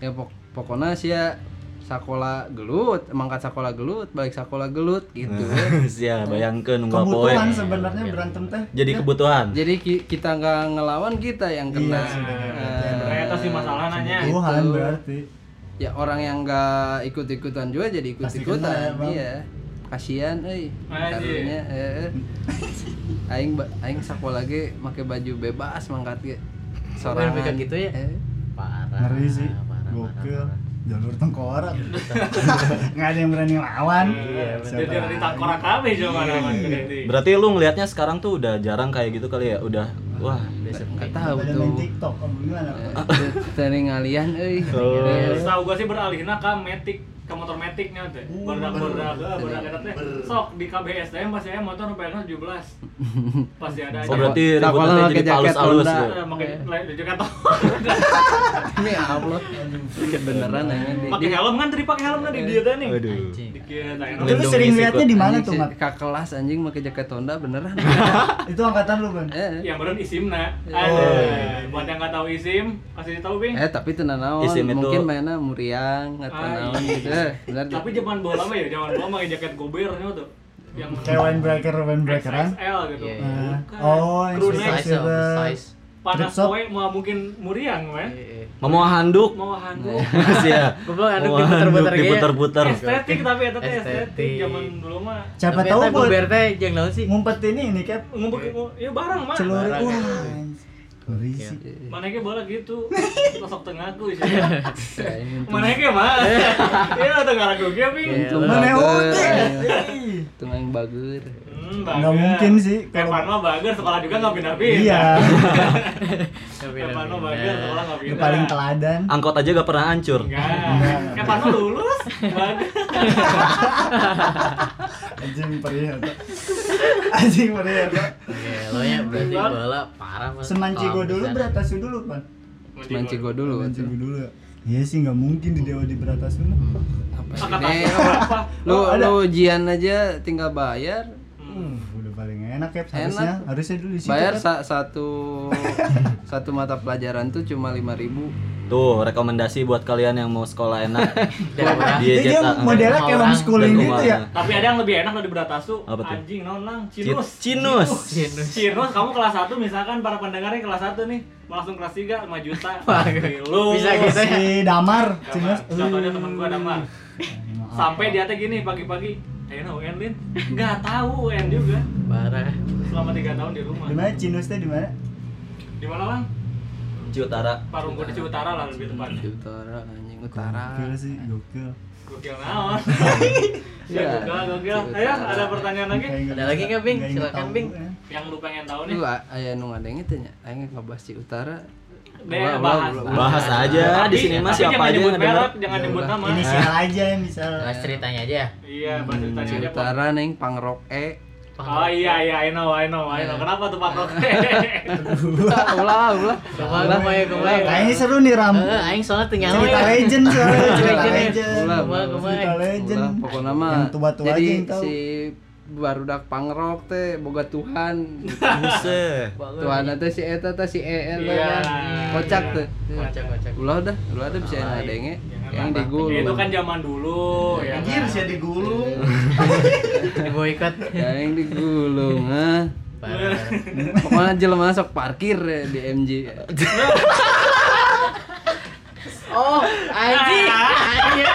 Speaker 4: ya pok- pokoknya sih ya sekolah gelut, mangkat sekolah gelut, balik sekolah gelut gitu.
Speaker 2: Sia, bayangkeun Ya, nunggu poe.
Speaker 5: kebutuhan sebenarnya berantem teh
Speaker 4: Iya.
Speaker 2: Jadi kebutuhan.
Speaker 4: Jadi ki- kita nggak ngelawan kita yang kena.
Speaker 5: Iya, sudah,
Speaker 4: Eh,
Speaker 5: berarti ada.
Speaker 1: Ternyata sih masalah nanya.
Speaker 5: kebutuhan
Speaker 4: Gitu.
Speaker 5: berarti
Speaker 4: ya orang yang nggak ikut-ikutan juga jadi
Speaker 5: Pasti kena ya,
Speaker 4: ikut-ikutan.
Speaker 5: Bang.
Speaker 4: Iya. Kasihan euy.
Speaker 1: Anjing.
Speaker 4: Karunya eh, eh. aing ba- aing sekolah lagi make baju bebas mangkat ge. Sorangan
Speaker 3: Bukan gitu ya?
Speaker 4: Eh.
Speaker 3: Parah.
Speaker 5: ngeri sih
Speaker 3: parah,
Speaker 5: gokil
Speaker 3: parah, parah.
Speaker 5: jalur tengkorak nggak ada yang berani lawan
Speaker 1: Iya,
Speaker 3: Iya,
Speaker 1: Jadi dari takora KB zaman zaman gede.
Speaker 2: Berarti lu ngelihatnya sekarang tuh udah jarang kayak gitu kali ya? Udah wah,
Speaker 3: Udah sepi.
Speaker 4: nggak tahu
Speaker 5: ada main
Speaker 4: tuh
Speaker 5: tiktok apa gimana
Speaker 3: Iya.
Speaker 4: tering ngalian euy Eh,
Speaker 1: Setahu gua sih beralihna ke metik ke motor metiknya teh. Berdak berdak eh, berdak eta teh. Sok di KBSDM pasti aya motor PNS 17. Pasti ada aja.
Speaker 2: Oh, berarti ributnya
Speaker 4: Nah, kalau
Speaker 2: jadi
Speaker 4: pakai jaket
Speaker 2: palus-alus
Speaker 4: Honda.
Speaker 2: gitu.
Speaker 4: Eh,
Speaker 1: Eh, Pakai
Speaker 4: Iya.
Speaker 1: le- juga tau.
Speaker 4: ini upload ya beneran anjing di-
Speaker 1: Pakai
Speaker 4: di-
Speaker 1: helm kan tadi pakai helm tadi nah, dia teh nih.
Speaker 2: Aduh.
Speaker 3: Anjing.
Speaker 1: Dikit aja.
Speaker 5: itu lu
Speaker 2: Melindungi
Speaker 5: sering
Speaker 3: iya,
Speaker 2: sikut.
Speaker 5: liatnya di mana
Speaker 4: anjing
Speaker 5: tuh
Speaker 4: si-
Speaker 5: mat
Speaker 4: kak kelas anjing pakai jaket Honda beneran
Speaker 5: itu angkatan lu ban
Speaker 4: eh
Speaker 1: Yang beren isimna. Ada. Buat yang nggak tahu isim, kasih tahu Bing.
Speaker 4: eh tapi tenan naon
Speaker 2: Isim itu-
Speaker 4: mungkin mainnya muriang atau
Speaker 1: Ah, iya.
Speaker 4: naon gitu eh bener
Speaker 1: Tapi zaman bola mah ya, zaman bola pakai jaket gobernya tuh. Yang
Speaker 5: kayak windbreaker windbreakeran
Speaker 1: XXL gitu.
Speaker 3: Iya, iya.
Speaker 5: Eh,
Speaker 1: Bukan.
Speaker 5: kan? oh yang
Speaker 1: Crew
Speaker 5: size
Speaker 1: neck.
Speaker 3: Size,
Speaker 5: zero.
Speaker 3: size.
Speaker 1: Panas
Speaker 5: Drip shop.
Speaker 1: poe mau mungkin muriang, men.
Speaker 3: Iya, iya.
Speaker 2: Mau handuk.
Speaker 1: Mau handuk.
Speaker 2: Iya. Sia.
Speaker 3: Goblok, handuk
Speaker 2: Mau
Speaker 3: diputer-puter
Speaker 2: handuk
Speaker 3: kayaknya.
Speaker 2: diputer-puter.
Speaker 1: estetik tapi itu teh estetik
Speaker 3: Estetik.
Speaker 1: zaman dulu mah
Speaker 5: siapa
Speaker 3: Tapi
Speaker 5: tahu
Speaker 3: eta
Speaker 5: buat
Speaker 3: gober teh jeung naon sih?
Speaker 5: ngumpet ini ini kayak
Speaker 1: ngumpet ya barang mah
Speaker 5: celurit
Speaker 3: Barang.
Speaker 5: wah
Speaker 3: Iya,
Speaker 5: ngeri sih
Speaker 1: mana ke bola gitu sosok tengah aku sih mana ke mah ya tengah aku ge ping
Speaker 4: untung
Speaker 5: Mana
Speaker 4: bager
Speaker 5: oke?
Speaker 4: anjing. untung yang bager
Speaker 1: hmm,
Speaker 5: Nggak mungkin sih, kalau-
Speaker 1: Pepan mah bager sekolah juga nggak pindah-pindah
Speaker 5: iya
Speaker 1: Pepan mah bager sekolah nggak
Speaker 5: Lu
Speaker 1: pindah
Speaker 5: paling teladan
Speaker 3: Iya.
Speaker 2: Angkot aja gak pernah hancur.
Speaker 1: enggak Pepan mah lulus bager
Speaker 5: anjing perih eta. anjing perih eta.
Speaker 3: Iya, lo ya berarti
Speaker 1: Bang.
Speaker 3: bola parah banget.
Speaker 5: Semanci gua
Speaker 3: Kolam
Speaker 5: dulu
Speaker 3: besar.
Speaker 5: beratasu dulu pan
Speaker 4: manci gua dulu
Speaker 5: Semanci
Speaker 4: tuh
Speaker 5: gua dulu ya Iya sih nggak mungkin di dewa di beratasu mah
Speaker 4: apa sih
Speaker 1: Angkat
Speaker 4: Nek?
Speaker 1: tangan berapa
Speaker 4: lu
Speaker 5: Oh, ada.
Speaker 4: lu ujian aja tinggal bayar
Speaker 5: Uh, udah paling enak ya harusnya harusnya dulu di situ
Speaker 4: bayar
Speaker 5: kan.
Speaker 4: sa- satu satu mata pelajaran tuh cuma lima ribu
Speaker 2: Tuh, rekomendasi buat kalian yang mau sekolah enak.
Speaker 3: Dan murah.
Speaker 2: Dia
Speaker 5: Jadi Iya, dia
Speaker 2: cetak.
Speaker 5: modelnya kayak
Speaker 3: Orang
Speaker 5: homeschooling
Speaker 2: dan
Speaker 5: gitu ya
Speaker 2: rumahnya.
Speaker 1: tapi ada yang lebih enak dari beratasu
Speaker 2: Apa tuh?
Speaker 1: anjing non lang
Speaker 2: Ci-
Speaker 1: cinus
Speaker 2: Cinus.
Speaker 3: Sinus.
Speaker 1: Cirnos kamu kelas 1 misalkan para pendengarnya kelas 1 nih mau langsung kelas 3 5 juta
Speaker 3: Wah,
Speaker 1: lu
Speaker 3: bisa gitu ya.
Speaker 5: si damar Uh.
Speaker 1: Damar.
Speaker 5: cingos
Speaker 1: Iya, contohnya temen
Speaker 5: eh.
Speaker 1: gua Damar sampai dia teh gini pagi-pagi ayo no UN Lin nggak tahu UN juga
Speaker 3: Parah.
Speaker 1: selama 3 tahun di rumah
Speaker 5: di mana cinusnya di mana
Speaker 1: di mana lang
Speaker 2: Ci Utara.
Speaker 1: Parungku di Ciutara lah lebih
Speaker 4: di
Speaker 1: tepatnya
Speaker 4: utara anjing utara
Speaker 5: gokil sih gokil
Speaker 1: gokil naon
Speaker 4: Iya.
Speaker 1: ya gokil gokil ayo ada pertanyaan lagi
Speaker 5: Kayak
Speaker 3: Ada lagi nggak, Bing?
Speaker 5: nggak inget
Speaker 3: Silakan,
Speaker 5: tahu,
Speaker 3: Bing.
Speaker 5: ya.
Speaker 1: yang lu pengen tahu nih
Speaker 4: lu a- aya nu ngadeng itu nya aing ngebahas di utara
Speaker 1: Deh,
Speaker 4: Ulah, ulah,
Speaker 1: bahas.
Speaker 4: ulah.
Speaker 2: Bahas aja di
Speaker 1: Tapi-
Speaker 2: sini mah
Speaker 1: tapi
Speaker 2: siapa
Speaker 1: jangan
Speaker 2: aja
Speaker 1: nyebut
Speaker 2: yang ada.
Speaker 1: merek jangan
Speaker 4: Ya
Speaker 1: nyebut
Speaker 4: udah.
Speaker 1: nama
Speaker 5: inisial aja ya misal
Speaker 3: Bahas ceritanya aja. ya.
Speaker 1: iya bahas ceritanya
Speaker 4: di
Speaker 1: aja Pak.
Speaker 4: utara neng pangrok e
Speaker 1: Oh iya iya I know I know I know. Kenapa tuh Pak Roke?
Speaker 4: ulah ulah
Speaker 3: Coba gue mau ya, gue mau ya.
Speaker 5: kayaknya seru nih ram
Speaker 3: Eh, aing soalnya tinggal ya.
Speaker 5: cerita
Speaker 3: we.
Speaker 5: legend soalnya
Speaker 3: Legend
Speaker 5: cerita
Speaker 3: ya.
Speaker 5: legend
Speaker 4: Ulah,
Speaker 3: Kumaha, kumaha.
Speaker 5: cerita legend
Speaker 4: ulah pokoknya mah
Speaker 5: yang tua-tua aja
Speaker 4: jadi
Speaker 5: yang tahu
Speaker 4: si barudak pangrok teh boga Tuhan
Speaker 2: Buset.
Speaker 4: Tuhan teh si eta teh si e
Speaker 1: Iya.
Speaker 4: eta nya kocak teh
Speaker 3: Kocak, kocak.
Speaker 4: ulah dah ulah dah bisa ngadenge yang di
Speaker 1: Ya,
Speaker 4: gulung
Speaker 1: itu kan zaman dulu ya.
Speaker 6: Iya. Anjir,
Speaker 1: kan?
Speaker 6: saya digulung.
Speaker 3: Di boykot.
Speaker 4: Ya, yang digulung ah
Speaker 3: Parah.
Speaker 4: Pokoknya jelema sok parkir ya di MJ.
Speaker 3: Oh, anjing. Anjing.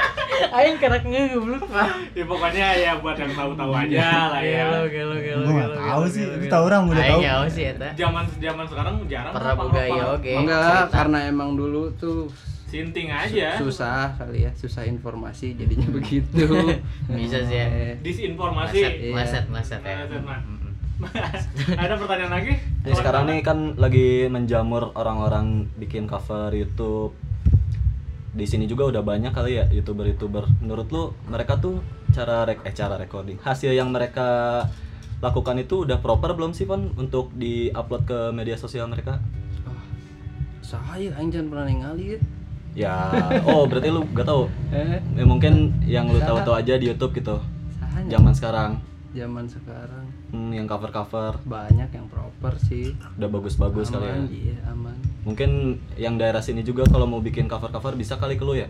Speaker 3: Aing kerak ngegoblok, Pak.
Speaker 1: Ya pokoknya ya buat yang tahu-tahu aja lah ya.
Speaker 3: Gelo, gelo, gelo.
Speaker 5: Gua nggak
Speaker 3: gelo,
Speaker 5: tahu
Speaker 3: gelo,
Speaker 5: sih,
Speaker 3: gelo,
Speaker 5: itu
Speaker 3: gelo.
Speaker 5: tahu orang udah
Speaker 3: Aing ya,
Speaker 5: tahu.
Speaker 3: nggak tahu sih eta.
Speaker 1: Zaman zaman sekarang jarang
Speaker 3: Pernah
Speaker 1: Pak Roke.
Speaker 3: boga ya oge.
Speaker 4: Enggak, karena emang dulu tuh
Speaker 1: Sinting aja.
Speaker 4: susah kali ya, susah informasi jadinya begitu.
Speaker 3: Bisa sih ya.
Speaker 4: Eh,
Speaker 1: Disinformasi.
Speaker 3: Maset, maset ya.
Speaker 1: Maset, Mak. Ada pertanyaan lagi?
Speaker 2: Ini sekarang nih kan lagi menjamur orang-orang bikin cover YouTube. Di sini juga udah banyak kali ya youtuber-youtuber. Menurut lu mereka tuh cara rek eh cara recording hasil yang mereka lakukan itu udah proper belum sih Pon untuk diupload ke media sosial mereka?
Speaker 4: Ah, saya aing jangan pernah ningali ya.
Speaker 2: Ya, oh berarti lu gak tahu.
Speaker 4: Eh,
Speaker 2: Ya, mungkin yang lu tahu-tahu aja di YouTube gitu.
Speaker 4: sahanya.
Speaker 2: Zaman sekarang
Speaker 4: Zaman sekarang
Speaker 2: hmm, yang cover-cover
Speaker 4: banyak yang proper sih.
Speaker 2: udah bagus-bagus kali ya.
Speaker 4: aman, iya aman.
Speaker 2: Mungkin yang daerah sini juga kalau mau bikin cover-cover bisa kali ke lu ya.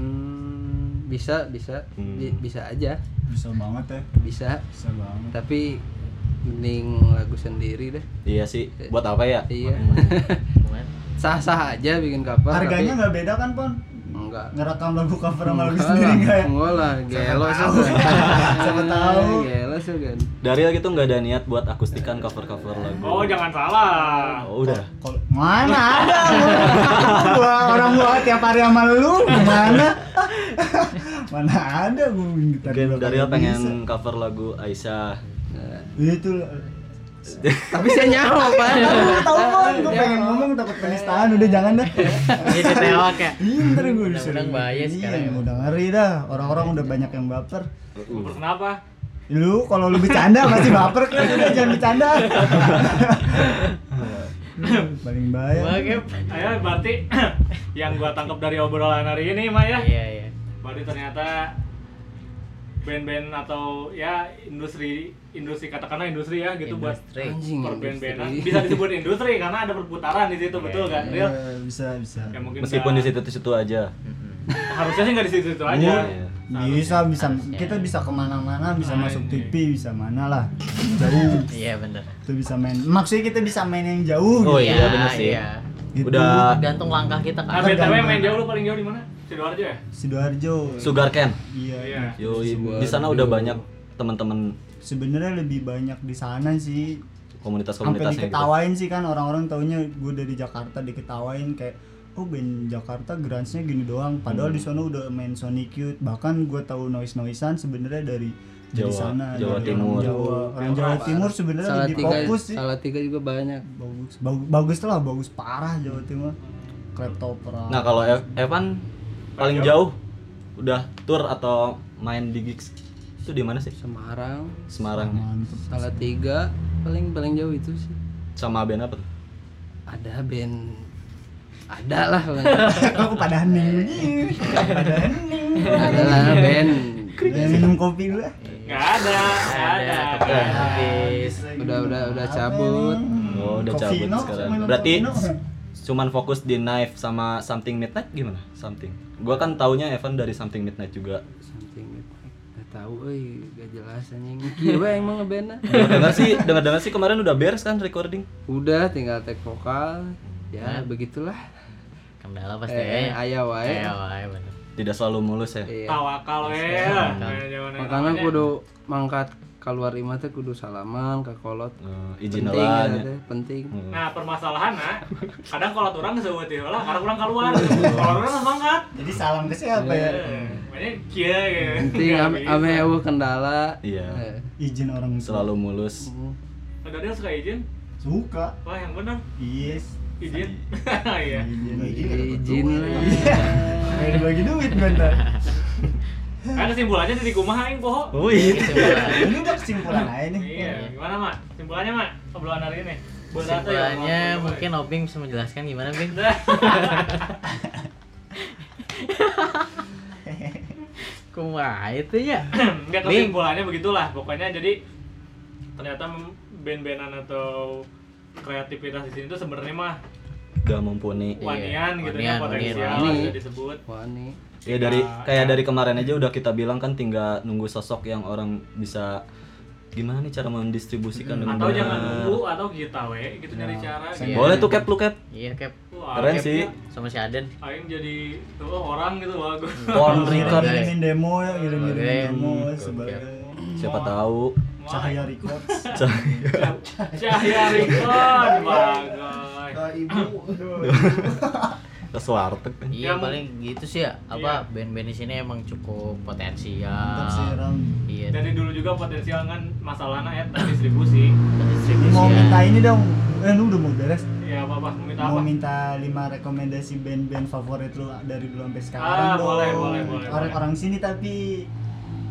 Speaker 4: Hmm, bisa bisa
Speaker 2: Hmm.
Speaker 4: Bi- bisa aja
Speaker 5: bisa banget ya
Speaker 4: bisa
Speaker 5: bisa banget
Speaker 4: tapi mending lagu sendiri deh
Speaker 2: Iya sih, buat apa ya?
Speaker 4: iya
Speaker 3: Lumayan.
Speaker 4: sah sah aja bikin cover
Speaker 5: harganya
Speaker 4: tapi...
Speaker 5: nggak beda kan pon
Speaker 4: enggak
Speaker 5: ngerekam lagu cover sama lagu
Speaker 4: Enggak
Speaker 5: sendiri
Speaker 4: lah,
Speaker 5: nggak ya
Speaker 4: enggak lah gelo sih
Speaker 5: tahu. Siapa tahu.
Speaker 4: gelo sih kan
Speaker 2: Daryl gitu nggak ada niat buat akustikan cover-cover lagu.
Speaker 1: Oh jangan salah.
Speaker 2: Oh, udah.
Speaker 5: Kol- mana ada gua orang gua tiap hari sama lu mana mana ada gua main gitar
Speaker 2: Mungkin
Speaker 5: dua
Speaker 2: Daryl
Speaker 5: kali bisa.
Speaker 2: pengen cover lagu Aisyah.
Speaker 5: itu
Speaker 4: tapi saya nyawa pak
Speaker 5: tahu pon gua pengen ngomong takut penistaan udah jangan dah
Speaker 3: Ini ditewak ya.
Speaker 5: Iya, ntar gua disuruh
Speaker 3: Undang-undang bahaya
Speaker 5: Iya,
Speaker 3: sekarang ya.
Speaker 5: udah ngeri dah orang-orang udah banyak yang baper
Speaker 1: Terus kenapa?
Speaker 5: lu kalau lu bercanda masih baper kan udah jangan bercanda paling bahaya
Speaker 3: Oke.
Speaker 1: Ayo berarti yang gua tangkap dari obrolan hari ini mah ya.
Speaker 3: Iya iya.
Speaker 1: Berarti ternyata band-band atau ya industri industri katakanlah industri ya gitu buat
Speaker 3: Industri.
Speaker 4: Anjing,
Speaker 1: perben-benan
Speaker 4: industri.
Speaker 1: bisa disebut industri karena ada perputaran di situ betul kan
Speaker 5: Iya,
Speaker 1: Ril?
Speaker 5: bisa bisa
Speaker 1: Ya, mungkin
Speaker 2: Meskipun di
Speaker 1: nggak-
Speaker 2: situ-situ aja.
Speaker 1: harusnya sih nggak di situ aja.
Speaker 2: Iya.
Speaker 5: bisa bisa kita bisa kemana-mana bisa
Speaker 1: Nah,
Speaker 5: masuk
Speaker 1: ini.
Speaker 5: TV bisa mana lah jauh
Speaker 3: Iya bener.
Speaker 5: itu bisa main maksudnya kita bisa main yang jauh
Speaker 2: Oh iya, bener sih.
Speaker 3: Iya.
Speaker 5: gitu.
Speaker 2: Udah
Speaker 3: Tergantung langkah kita
Speaker 1: Nah,
Speaker 3: kan.
Speaker 1: BTW main jauh lu paling jauh di mana? Sidoarjo ya?
Speaker 5: sidoarjo
Speaker 2: Sugarcane.
Speaker 5: iya
Speaker 1: Iya.
Speaker 2: Yo, di sana udah banyak teman-teman
Speaker 5: sebenarnya lebih banyak di sana sih sampai
Speaker 2: komunitas-komunitasnya gitu.
Speaker 5: diketawain sih kan orang-orang taunya gue dari Jakarta diketawain kayak oh band Jakarta grunge-nya gini doang padahal
Speaker 2: Hmm.
Speaker 5: di sana udah main Sonic Youth bahkan gue tahu noise noisean sebenarnya dari dari
Speaker 2: Jawa-
Speaker 5: sana
Speaker 2: Jawa
Speaker 5: dari
Speaker 2: Timur.
Speaker 5: orang Jawa orang Jawa Timur sebenarnya
Speaker 4: salah
Speaker 5: lebih
Speaker 4: tiga
Speaker 5: fokus sih
Speaker 4: salah tiga juga banyak
Speaker 5: bagus bagus, bagus tuh lah bagus parah Jawa Timur kleptopra
Speaker 2: Nah, kalau Ev- Evan paling jauh udah tour atau main di gigs itu di mana sih?
Speaker 4: Semarang
Speaker 2: Semarang
Speaker 5: mantep
Speaker 4: salah tiga paling paling jauh itu sih
Speaker 2: sama band apa tuh?
Speaker 4: ada band ada lah
Speaker 5: aku pada hening begini pada hening
Speaker 4: ada lah band
Speaker 5: Udah minum kopi dulu ah.
Speaker 1: Nggak ada, nggak ada.
Speaker 3: Ada. Habis.
Speaker 4: udah udah udah cabut
Speaker 1: Hmm.
Speaker 2: Oh, udah cabut
Speaker 5: Cofino,
Speaker 2: sekarang.
Speaker 5: minum
Speaker 2: Berarti
Speaker 5: Cofino.
Speaker 2: cuman fokus di Knife sama Something Midnight gimana? Something. Gua kan taunya Evan dari Something Midnight juga.
Speaker 4: something with gak tahu euy gak jelas anjing kieu emang ngebandna
Speaker 2: Dengar-dengar sih, dengar-dengar sih kemarin udah beres kan recording.
Speaker 4: udah tinggal tag vokal ya begitulah
Speaker 3: Kendala pasti
Speaker 4: eh, eh
Speaker 3: ya.
Speaker 4: aya wae
Speaker 3: Iya wae bener.
Speaker 2: Tidak selalu mulus ya.
Speaker 4: Iya.
Speaker 1: Tawakal ya. Main jauh, main
Speaker 4: makanya
Speaker 1: jauh.
Speaker 4: kudu mangkat keluar imah teh kudu salaman ke kolot
Speaker 2: Eh, izin
Speaker 4: penting
Speaker 2: lah.
Speaker 4: ya, teh, penting
Speaker 1: Nah, permasalahan nah, kadang kalau orang sewa teh lah, karena orang keluar. Kalau orang nggak mangkat.
Speaker 5: jadi salam ke siapa ya
Speaker 4: Iya.
Speaker 1: Mainnya kia gitu.
Speaker 4: penting
Speaker 1: Nggak
Speaker 4: ame
Speaker 1: bisa.
Speaker 4: ame eueuh kendala
Speaker 2: Iya.
Speaker 4: Eh,
Speaker 5: izin orang tua.
Speaker 2: Selalu mulus.
Speaker 1: Ada dia suka izin?
Speaker 5: suka
Speaker 1: Wah, yang benar.
Speaker 5: yes
Speaker 1: Izin. Iya.
Speaker 4: izin lah
Speaker 5: Main bagi duit bentar
Speaker 1: Kan kesimpulannya jadi kumaha aing poho.
Speaker 2: Oh iya.
Speaker 1: ya,
Speaker 5: ini udah kesimpulan aja nih
Speaker 1: Iya, gimana, Mak? Kesimpulannya, Mak? Obrolan hari ini. Buat satu ya,
Speaker 3: Kesimpulannya
Speaker 1: Mak.
Speaker 3: mungkin Obing bisa menjelaskan gimana Bing? Kumaha itu ya?
Speaker 1: Enggak
Speaker 3: Bing.
Speaker 1: kesimpulannya begitulah. Pokoknya jadi ternyata mem- band-bandan atau kreativitas di sini tuh sebenarnya mah
Speaker 2: Udah mumpuni.
Speaker 1: wanian gitu ya
Speaker 3: wanian,
Speaker 1: potensial
Speaker 3: wanian.
Speaker 1: bisa disebut.
Speaker 4: wani
Speaker 2: Ya dari
Speaker 1: kan.
Speaker 2: kayak dari kemarin aja udah kita bilang kan tinggal nunggu sosok yang orang bisa gimana nih cara mendistribusikan dengan
Speaker 1: Hmm. Atau
Speaker 2: benar.
Speaker 1: jangan nunggu atau kita we gitu nyari cara. gitu.
Speaker 2: Boleh tuh cap lu cap.
Speaker 3: Iya Cap
Speaker 1: Wah,
Speaker 2: Keren
Speaker 1: Cap,
Speaker 2: sih.
Speaker 3: sama si Aden.
Speaker 1: Aing jadi tuh oh, orang gitu wah gua.
Speaker 2: Pon record.
Speaker 5: ngirimin demo ya ngirimin
Speaker 3: Oke.
Speaker 5: demo
Speaker 3: Oke.
Speaker 5: sebagai
Speaker 1: Iya.
Speaker 2: Siapa tahu.
Speaker 5: cahaya records
Speaker 1: Cahya Rikon, bagus.
Speaker 6: Ke ibu.
Speaker 2: Terus warteg.
Speaker 1: Ya,
Speaker 3: Iya
Speaker 1: mung-
Speaker 3: paling gitu sih ya.
Speaker 1: Iya.
Speaker 3: Apa band-band di sini emang cukup
Speaker 5: mantap sih
Speaker 3: potensial.
Speaker 5: Ram
Speaker 3: Iya.
Speaker 1: Dari dulu juga potensial kan masalahnya eta distribusi.
Speaker 3: terdistribusi
Speaker 5: mau
Speaker 3: ya.
Speaker 5: minta ini dong eh lu udah mau beres
Speaker 1: Ya apa-apa mau minta
Speaker 5: mau
Speaker 1: apa?
Speaker 5: minta lima rekomendasi band-band favorit lu dari dulu sampai sekarang
Speaker 1: Ah,
Speaker 5: dong.
Speaker 1: boleh, boleh, boleh,
Speaker 5: orang orang sini tapi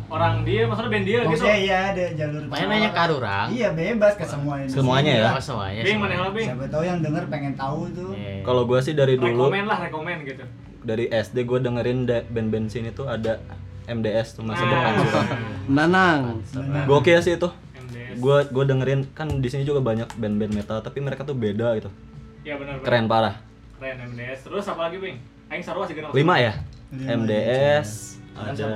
Speaker 1: orang dia maksudnya band dia gitu
Speaker 5: Maksudnya iya ada jalur
Speaker 3: Main nanya ke Arurang.
Speaker 5: Iya bebas ke semua ini.
Speaker 2: Semuanya ya?
Speaker 3: Oh, semuanya.
Speaker 1: Bing mana yang
Speaker 3: semuanya.
Speaker 1: lo Bing?
Speaker 5: Siapa tahu yang denger pengen tahu tuh.
Speaker 3: Iya.
Speaker 2: Kalau gua sih dari dulu
Speaker 1: Rekomen lah, rekomen gitu
Speaker 2: dari SD gua dengerin da- band-band sini tuh ada MDS tuh masih
Speaker 1: Nah.
Speaker 2: berpancuran.
Speaker 4: Nanang
Speaker 2: Gokil sih itu.
Speaker 1: MDS
Speaker 2: Gua gua dengerin kan di sini juga banyak band-band metal tapi mereka tuh beda gitu.
Speaker 1: Iya benar benar.
Speaker 2: Keren parah.
Speaker 1: Keren MDS Terus apa lagi Bing? Aing sarwa sih kenal
Speaker 2: Lima ya?
Speaker 5: Lima
Speaker 2: MDS ada